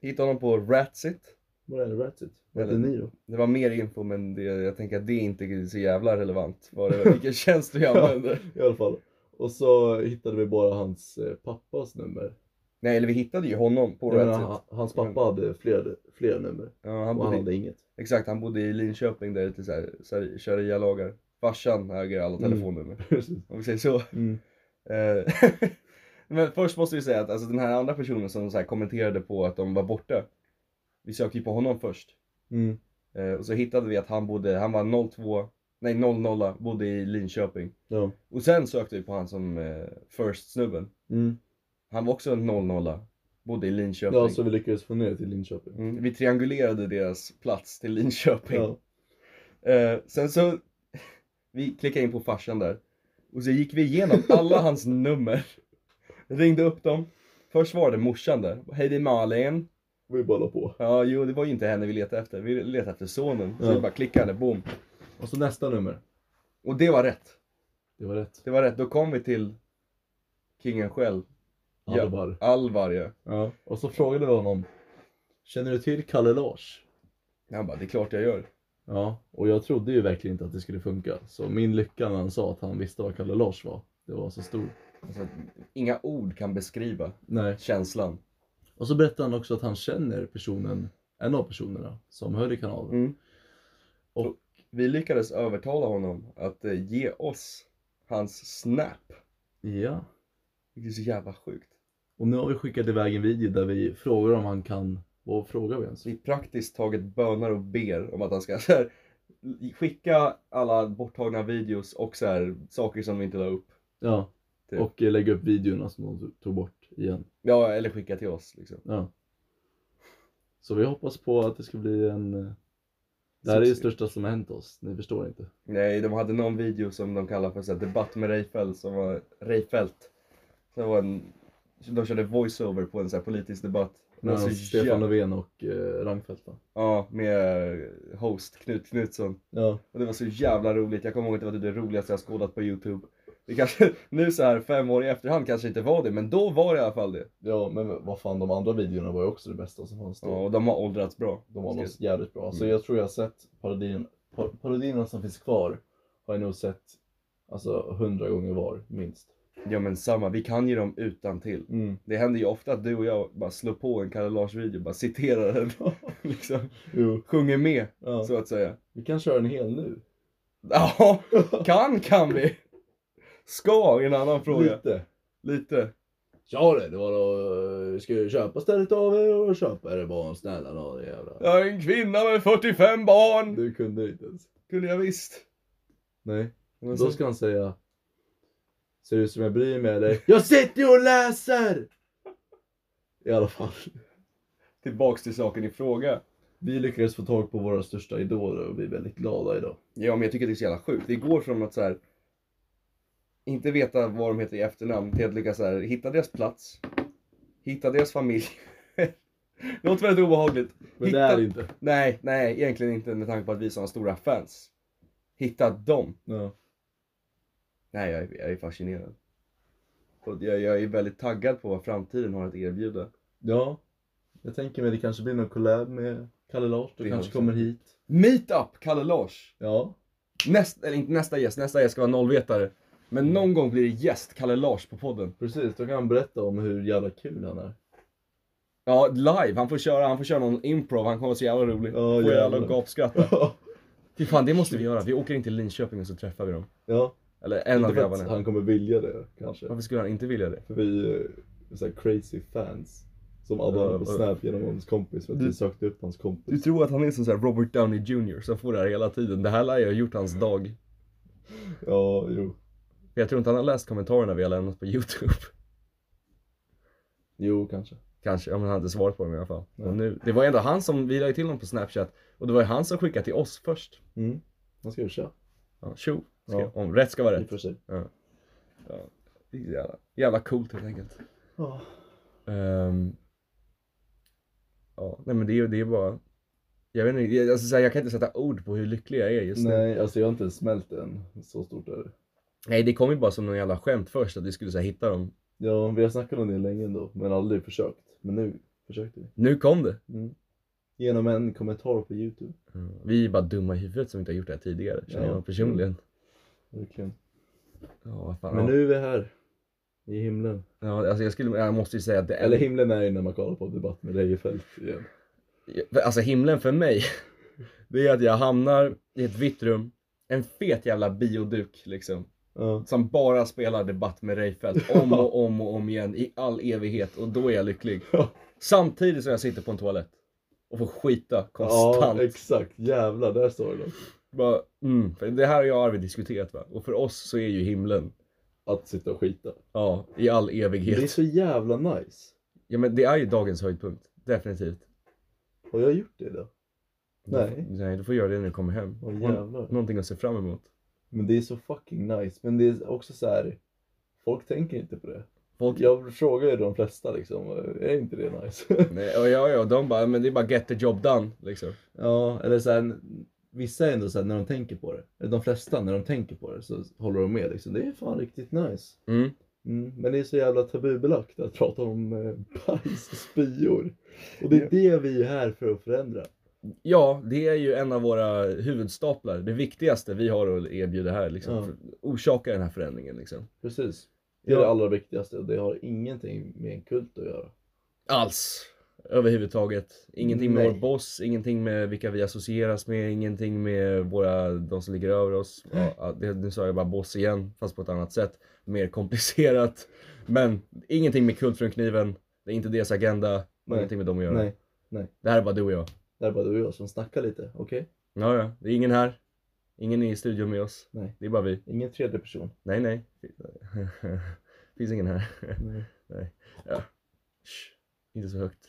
[SPEAKER 3] Hittade honom på Ratsit.
[SPEAKER 2] Var är det Ratchet? Var
[SPEAKER 3] Eller-
[SPEAKER 2] det Niro?
[SPEAKER 3] Det var mer info men det, jag tänker att det är inte så jävla relevant. Var det, vilken tjänst du använde.
[SPEAKER 2] I alla fall. Och så hittade vi bara hans eh, pappas nummer.
[SPEAKER 3] Nej, eller vi hittade ju honom på
[SPEAKER 2] Jag menar,
[SPEAKER 3] Ratsit.
[SPEAKER 2] han, hans pappa hade fler, fler nummer
[SPEAKER 3] Ja, han
[SPEAKER 2] och han
[SPEAKER 3] bodde,
[SPEAKER 2] hade inget.
[SPEAKER 3] Exakt, han bodde i Linköping där ute så här, så här, sharia-lagar. Farsan äger alla
[SPEAKER 2] Mm.
[SPEAKER 3] telefonnummer,
[SPEAKER 2] Precis.
[SPEAKER 3] om vi säger så.
[SPEAKER 2] Mm.
[SPEAKER 3] Eh, Men först måste vi säga att alltså, den här andra personen som så här, kommenterade på att de var borta. Vi sökte ju på honom först.
[SPEAKER 2] Mm.
[SPEAKER 3] Eh, och så hittade vi att han bodde, han var 02, nej 00, bodde i Linköping.
[SPEAKER 2] Ja.
[SPEAKER 3] Och sen sökte vi på han som eh, first snubben.
[SPEAKER 2] Mm.
[SPEAKER 3] Han var också 00, bodde i Linköping.
[SPEAKER 2] ja, så alltså vi lyckades få ner det till Linköping.
[SPEAKER 3] mm, vi triangulerade deras plats till Linköping.
[SPEAKER 2] Ja.
[SPEAKER 3] Eh, sen så, vi klickade in på farsan där. Och så gick vi igenom alla hans nummer. Ringde upp dem. Först var det morsan där. Hej det är Malin.
[SPEAKER 2] Vi bara la på.
[SPEAKER 3] Ja, jo det var ju inte henne vi letade efter. Vi letade efter sonen. Så
[SPEAKER 2] Ja.
[SPEAKER 3] vi bara klickade, boom.
[SPEAKER 2] Och så nästa nummer.
[SPEAKER 3] Och det var rätt.
[SPEAKER 2] Det var rätt.
[SPEAKER 3] Det var rätt, då kom vi till kingen själv, Ja.
[SPEAKER 2] Alvar.
[SPEAKER 3] Alvar ja.
[SPEAKER 2] Ja. Och så frågade vi honom. Känner du till Kalle Lars?
[SPEAKER 3] Han bara, det är klart jag gör.
[SPEAKER 2] Ja. Och jag trodde ju verkligen inte att det skulle funka. Så min lycka när han sa att han visste vad Kalle Lars var. Det var så stor.
[SPEAKER 3] Alltså, inga ord kan beskriva
[SPEAKER 2] Nej.
[SPEAKER 3] känslan.
[SPEAKER 2] Och så berättade han också att han känner personen, en av personerna som höll i kanalen.
[SPEAKER 3] Mm.
[SPEAKER 2] Och-
[SPEAKER 3] Vi lyckades övertala honom att eh, ge oss hans snap.
[SPEAKER 2] Ja.
[SPEAKER 3] Det är så jävla sjukt.
[SPEAKER 2] Och nu har vi skickat iväg en video där vi frågar om han kan, vad frågar vi ens?
[SPEAKER 3] Så vi praktiskt taget bönar och ber om att han ska så här, skicka alla borttagna videos och så här, saker som vi inte la upp.
[SPEAKER 2] Ja.
[SPEAKER 3] Typ.
[SPEAKER 2] Och eh, lägga upp videorna som de tog bort igen.
[SPEAKER 3] Ja, eller skicka till oss liksom.
[SPEAKER 2] Ja. Så vi hoppas på att det ska bli en... eh, Det här är ju det största som har hänt oss, ni förstår inte.
[SPEAKER 3] Nej, de hade någon video som de kallar för så här, debatt med Reinfeldt som var Reinfeldt. Som var en, de körde voiceover på en så här, politisk debatt. Det var
[SPEAKER 2] Mellan
[SPEAKER 3] så
[SPEAKER 2] Stefan
[SPEAKER 3] jävla-
[SPEAKER 2] Löfven och eh, Reinfeldt va?
[SPEAKER 3] Ja, med eh, host Knut Knutsson.
[SPEAKER 2] Ja.
[SPEAKER 3] Och det var så jävla roligt. Jag kommer ihåg att det var typ det roligaste jag skådat på Youtube. Det kanske, nu så här fem år i efterhand kanske inte var det, men då var det i alla fall det.
[SPEAKER 2] ja, men vad fan de andra videorna var ju också det bästa som fanns
[SPEAKER 3] Ja, och de har åldrats bra.
[SPEAKER 2] De var nog jävligt bra. Alltså jag tror jag har sett parodin, par- parodierna som finns kvar har jag nog sett alltså hundra gånger var minst.
[SPEAKER 3] Ja men samma, vi kan ju dem utan till. Det händer ju ofta att du och jag bara slår på en Kalle Lars-video, bara citerar den. liksom,
[SPEAKER 2] Jo.
[SPEAKER 3] sjunger med,
[SPEAKER 2] Ja.
[SPEAKER 3] så att säga.
[SPEAKER 2] Vi kan köra en hel nu.
[SPEAKER 3] Ja, kan kan vi. Ska är en annan fråga.
[SPEAKER 2] Lite.
[SPEAKER 3] Lite.
[SPEAKER 2] Ja det, det var då, eh, ska vi köpa stället av er och köpa er barn snälla då jävla.
[SPEAKER 3] Jag är en kvinna med 45 barn.
[SPEAKER 2] Du kunde inte ens.
[SPEAKER 3] Kunde jag visst.
[SPEAKER 2] Nej.
[SPEAKER 3] Men
[SPEAKER 2] Då
[SPEAKER 3] så-
[SPEAKER 2] ska han säga Ser det ut som jag bryr mig eller? Jag sitter ju och läser! I alla fall.
[SPEAKER 3] Tillbaks till saken i fråga.
[SPEAKER 2] Vi lyckades få tag på våra största idoler och vi är väldigt glada idag.
[SPEAKER 3] Ja men jag tycker det är så jävla sjukt. Det går från att så här inte veta vad de heter i efternamn till att lyckas så här, hitta deras plats, hitta deras familj. det låter väldigt obehagligt.
[SPEAKER 2] Men
[SPEAKER 3] Hitta-
[SPEAKER 2] det är det inte.
[SPEAKER 3] Nej, nej, egentligen inte med tanke på att vi är sådana stora fans. Hitta dem.
[SPEAKER 2] Ja.
[SPEAKER 3] Nej, jag är, jag är fascinerad. Och jag, jag är väldigt taggad på vad framtiden har att erbjuda.
[SPEAKER 2] ja. Jag tänker mig det kanske blir någon collab med Kalle Lars. Du
[SPEAKER 3] Det
[SPEAKER 2] kanske
[SPEAKER 3] hoppas
[SPEAKER 2] kommer hit.
[SPEAKER 3] Meetup, Kalle Lars!
[SPEAKER 2] Ja.
[SPEAKER 3] Näst, eller inte nästa gäst, nästa gäst ska vara nollvetare. Men någon gång blir det gäst, Kalle Lars, på podden.
[SPEAKER 2] Precis, då kan han berätta om hur jävla kul han är.
[SPEAKER 3] Ja, live. Han får köra, han får köra någon improv, han kommer vara så jävla rolig.
[SPEAKER 2] Ja,
[SPEAKER 3] Får jävla
[SPEAKER 2] jävlar.
[SPEAKER 3] gapskratta. Fy fan, det måste vi göra. Vi åker in till Linköping och så träffar vi dem.
[SPEAKER 2] ja,
[SPEAKER 3] Eller en av
[SPEAKER 2] inte för att
[SPEAKER 3] grabbarna.
[SPEAKER 2] han kommer vilja det kanske.
[SPEAKER 3] Varför skulle han inte vilja det?
[SPEAKER 2] För vi är så här crazy fans. Som alla
[SPEAKER 3] Ja,
[SPEAKER 2] honom
[SPEAKER 3] Mm.
[SPEAKER 2] på
[SPEAKER 3] ja.
[SPEAKER 2] Snap genom hans kompis för att vi
[SPEAKER 3] Du-
[SPEAKER 2] sökte upp hans kompis.
[SPEAKER 3] Du tror att han är som så här Robert Downey Jr som får det här hela tiden. Det här lär jag ha gjort hans dag.
[SPEAKER 2] Ja, jo.
[SPEAKER 3] För jag tror inte han har läst kommentarerna vi har lämnat på YouTube.
[SPEAKER 2] Jo, kanske.
[SPEAKER 3] Kanske, ja men han hade svarat på dem i alla fall.
[SPEAKER 2] Ja.
[SPEAKER 3] Och nu, det var ändå han som, vi la ju till honom på Snapchat. Och det var ju han som skickade till oss först.
[SPEAKER 2] Mm. Han ska ju köra.
[SPEAKER 3] Ja, tjo,
[SPEAKER 2] Ja.
[SPEAKER 3] skrev. Om rätt ska vara
[SPEAKER 2] I och
[SPEAKER 3] rätt.
[SPEAKER 2] för sig.
[SPEAKER 3] Det är Jävla, jävla coolt helt enkelt.
[SPEAKER 2] Ja.
[SPEAKER 3] Ehm, ja, nej men det är ju det är bara... Jag vet inte, jag, alltså, så här, jag kan inte sätta ord på hur lycklig jag är just nu.
[SPEAKER 2] Nej, alltså jag har inte ens smält än. Så stort är det.
[SPEAKER 3] Nej, det kom ju bara som någon jävla skämt först att vi skulle så här, hitta dem.
[SPEAKER 2] Ja, vi har snackat om det länge ändå, men aldrig försökt. Men nu försökte vi.
[SPEAKER 3] Nu kom det!
[SPEAKER 2] Mm. Genom en kommentar på Youtube.
[SPEAKER 3] Mm. Vi är bara dumma i huvudet som inte har gjort det här tidigare, känner
[SPEAKER 2] Ja.
[SPEAKER 3] jag personligen.
[SPEAKER 2] Verkligen.
[SPEAKER 3] Ja, vad fan.
[SPEAKER 2] Men
[SPEAKER 3] ja.
[SPEAKER 2] nu är vi här. I himlen.
[SPEAKER 3] Ja, alltså, jag, skulle, jag måste ju säga att det
[SPEAKER 2] Eller himlen är ju när man kollar på Debatt med Reifeldt igen.
[SPEAKER 3] Alltså himlen för mig, det är att jag hamnar i ett vitt rum, en fet jävla bioduk liksom.
[SPEAKER 2] Ja.
[SPEAKER 3] Som bara spelar debatt med Reinfeldt om och om och om igen i all evighet och då är jag lycklig.
[SPEAKER 2] Ja.
[SPEAKER 3] Samtidigt som jag sitter på en toalett och får skita
[SPEAKER 2] ja,
[SPEAKER 3] konstant.
[SPEAKER 2] exakt. Jävlar, där står det något.
[SPEAKER 3] Bara, mm, för det här har jag och Arvid diskuterat va? Och för oss så är ju himlen,
[SPEAKER 2] Att sitta och skita.
[SPEAKER 3] ja, i all
[SPEAKER 2] Det är
[SPEAKER 3] evighet.
[SPEAKER 2] så jävla nice.
[SPEAKER 3] Ja men det är ju dagens höjdpunkt, definitivt.
[SPEAKER 2] Har jag gjort det idag? Nej.
[SPEAKER 3] Nej, du får göra det när du kommer hem.
[SPEAKER 2] Åh jävlar.
[SPEAKER 3] Någonting att se fram emot.
[SPEAKER 2] Men det är så fucking nice. Men det är också så här. Folk tänker inte på det.
[SPEAKER 3] Folk,
[SPEAKER 2] Jag frågar ju de flesta liksom, är inte det nice?
[SPEAKER 3] Nej, och ja, ja, de bara, men det är bara get the job done liksom.
[SPEAKER 2] ja, eller så här, vissa är ändå så här, när de tänker på det, eller de flesta när de tänker på det så håller de med liksom. Det är fan riktigt nice.
[SPEAKER 3] Mm.
[SPEAKER 2] Mm, men det är så jävla tabubelagt att prata om eh, bajs och spyor. Och det är det vi är här för att förändra.
[SPEAKER 3] Ja, det är ju en av våra huvudstaplar. Det viktigaste vi har att erbjuda här liksom.
[SPEAKER 2] Ja.
[SPEAKER 3] För- Orsaka den här förändringen liksom.
[SPEAKER 2] Precis. Det är
[SPEAKER 3] Ja.
[SPEAKER 2] det allra viktigaste och det har ingenting med en kult att göra.
[SPEAKER 3] Alls. Överhuvudtaget. Ingenting med
[SPEAKER 2] Nej.
[SPEAKER 3] vår boss, ingenting med vilka vi associeras med, ingenting med våra, de som ligger över oss. Ja, ja, det, nu sa jag bara boss igen, fast på ett annat sätt. Mer komplicerat. Men ingenting med Kult från kniven. Det är inte deras agenda.
[SPEAKER 2] Nej.
[SPEAKER 3] Ingenting med dem att göra.
[SPEAKER 2] Nej,
[SPEAKER 3] Det här är bara du och jag.
[SPEAKER 2] det är bara du och jag som snackar lite, okej?
[SPEAKER 3] Ja, ja. Det är ingen här. Ingen är i studion med oss.
[SPEAKER 2] Nej.
[SPEAKER 3] Det är bara vi.
[SPEAKER 2] Ingen tredje person.
[SPEAKER 3] Nej, nej. Finns ingen här.
[SPEAKER 2] Nej.
[SPEAKER 3] Ja. Shh. Inte så högt.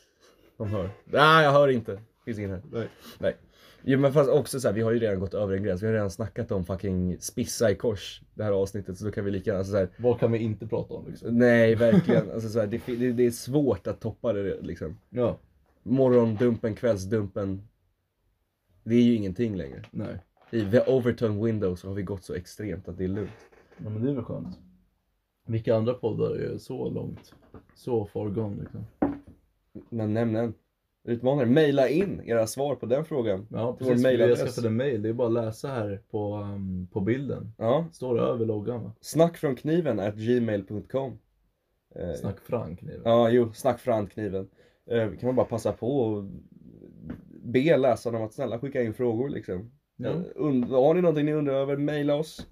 [SPEAKER 3] De hör. Nej, jag hör inte. Finns ingen här.
[SPEAKER 2] Nej.
[SPEAKER 3] Nej. Jo, men fast också så här, vi har ju redan gått över en gräns. Vi har redan snackat om fucking spissa i kors det här avsnittet. Så då kan vi lika gärna, alltså, så här,
[SPEAKER 2] Vad kan vi inte prata om liksom?
[SPEAKER 3] nej verkligen. Alltså, så här, det, fi- det, det är svårt att toppa det liksom.
[SPEAKER 2] Ja,
[SPEAKER 3] Morgondumpen, kvällsdumpen. Det är ju ingenting längre.
[SPEAKER 2] nej.
[SPEAKER 3] I the overturn window så har vi gått så extremt att det är lugnt.
[SPEAKER 2] Ja, men det är väl skönt. Vilka andra poddar är så långt? Så far gone liksom.
[SPEAKER 3] Men nämn en. Utmanare, mejla in era svar på den frågan.
[SPEAKER 2] Ja,
[SPEAKER 3] vår
[SPEAKER 2] precis. Jag
[SPEAKER 3] mailadress.
[SPEAKER 2] skaffade en mail. Det är bara att läsa här på, ehm, på bilden.
[SPEAKER 3] Ja,
[SPEAKER 2] Står det över loggan va?
[SPEAKER 3] snackfrånkniven at gmail.com eh,
[SPEAKER 2] Snack Frank nu.
[SPEAKER 3] Ja, jo, snackfrånkniven. Eh, kan man bara passa på och be läsarna om att snälla skicka in frågor liksom.
[SPEAKER 2] Ja.
[SPEAKER 3] Eh, und- har ni någonting ni undrar över, mejla oss.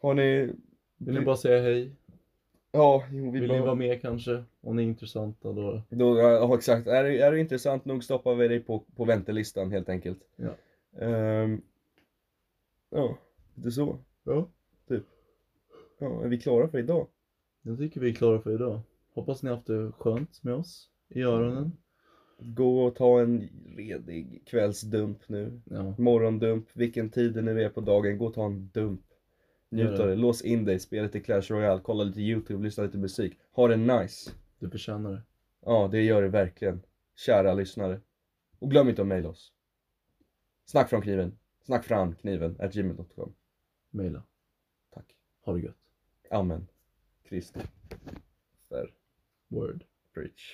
[SPEAKER 3] Har ni...
[SPEAKER 2] Vill ni bara säga hej?
[SPEAKER 3] Ja, jo, vi
[SPEAKER 2] Vill ni
[SPEAKER 3] bara...
[SPEAKER 2] vara med kanske? Om ni är intressanta då?
[SPEAKER 3] Då, ja, exakt. Är, det- är det intressant nog stoppar vi dig på, på väntelistan helt enkelt.
[SPEAKER 2] Ja.
[SPEAKER 3] Ehm, ja, det är så.
[SPEAKER 2] Ja.
[SPEAKER 3] Ja, är vi klara för idag?
[SPEAKER 2] Jag tycker vi är klara för idag. Hoppas ni haft det skönt med oss i öronen.
[SPEAKER 3] Gå och ta en redig kvällsdump nu.
[SPEAKER 2] Ja,
[SPEAKER 3] Morgondump, vilken tid det nu är på dagen, gå och ta en dump. Njut
[SPEAKER 2] Gör det.
[SPEAKER 3] av det, lås in dig, spela lite Clash Royale, kolla lite YouTube, lyssna lite musik. Ha det nice.
[SPEAKER 2] du förtjänar det.
[SPEAKER 3] Ja, det gör det verkligen. Kära lyssnare. Och glöm inte att mejla oss. Snack från kniven. Snack fram kniven. At gmail.com.
[SPEAKER 2] Mejla.
[SPEAKER 3] Tack.
[SPEAKER 2] Ha det gött.
[SPEAKER 3] Amen. Kristi. Där.
[SPEAKER 2] Word.
[SPEAKER 3] Preach.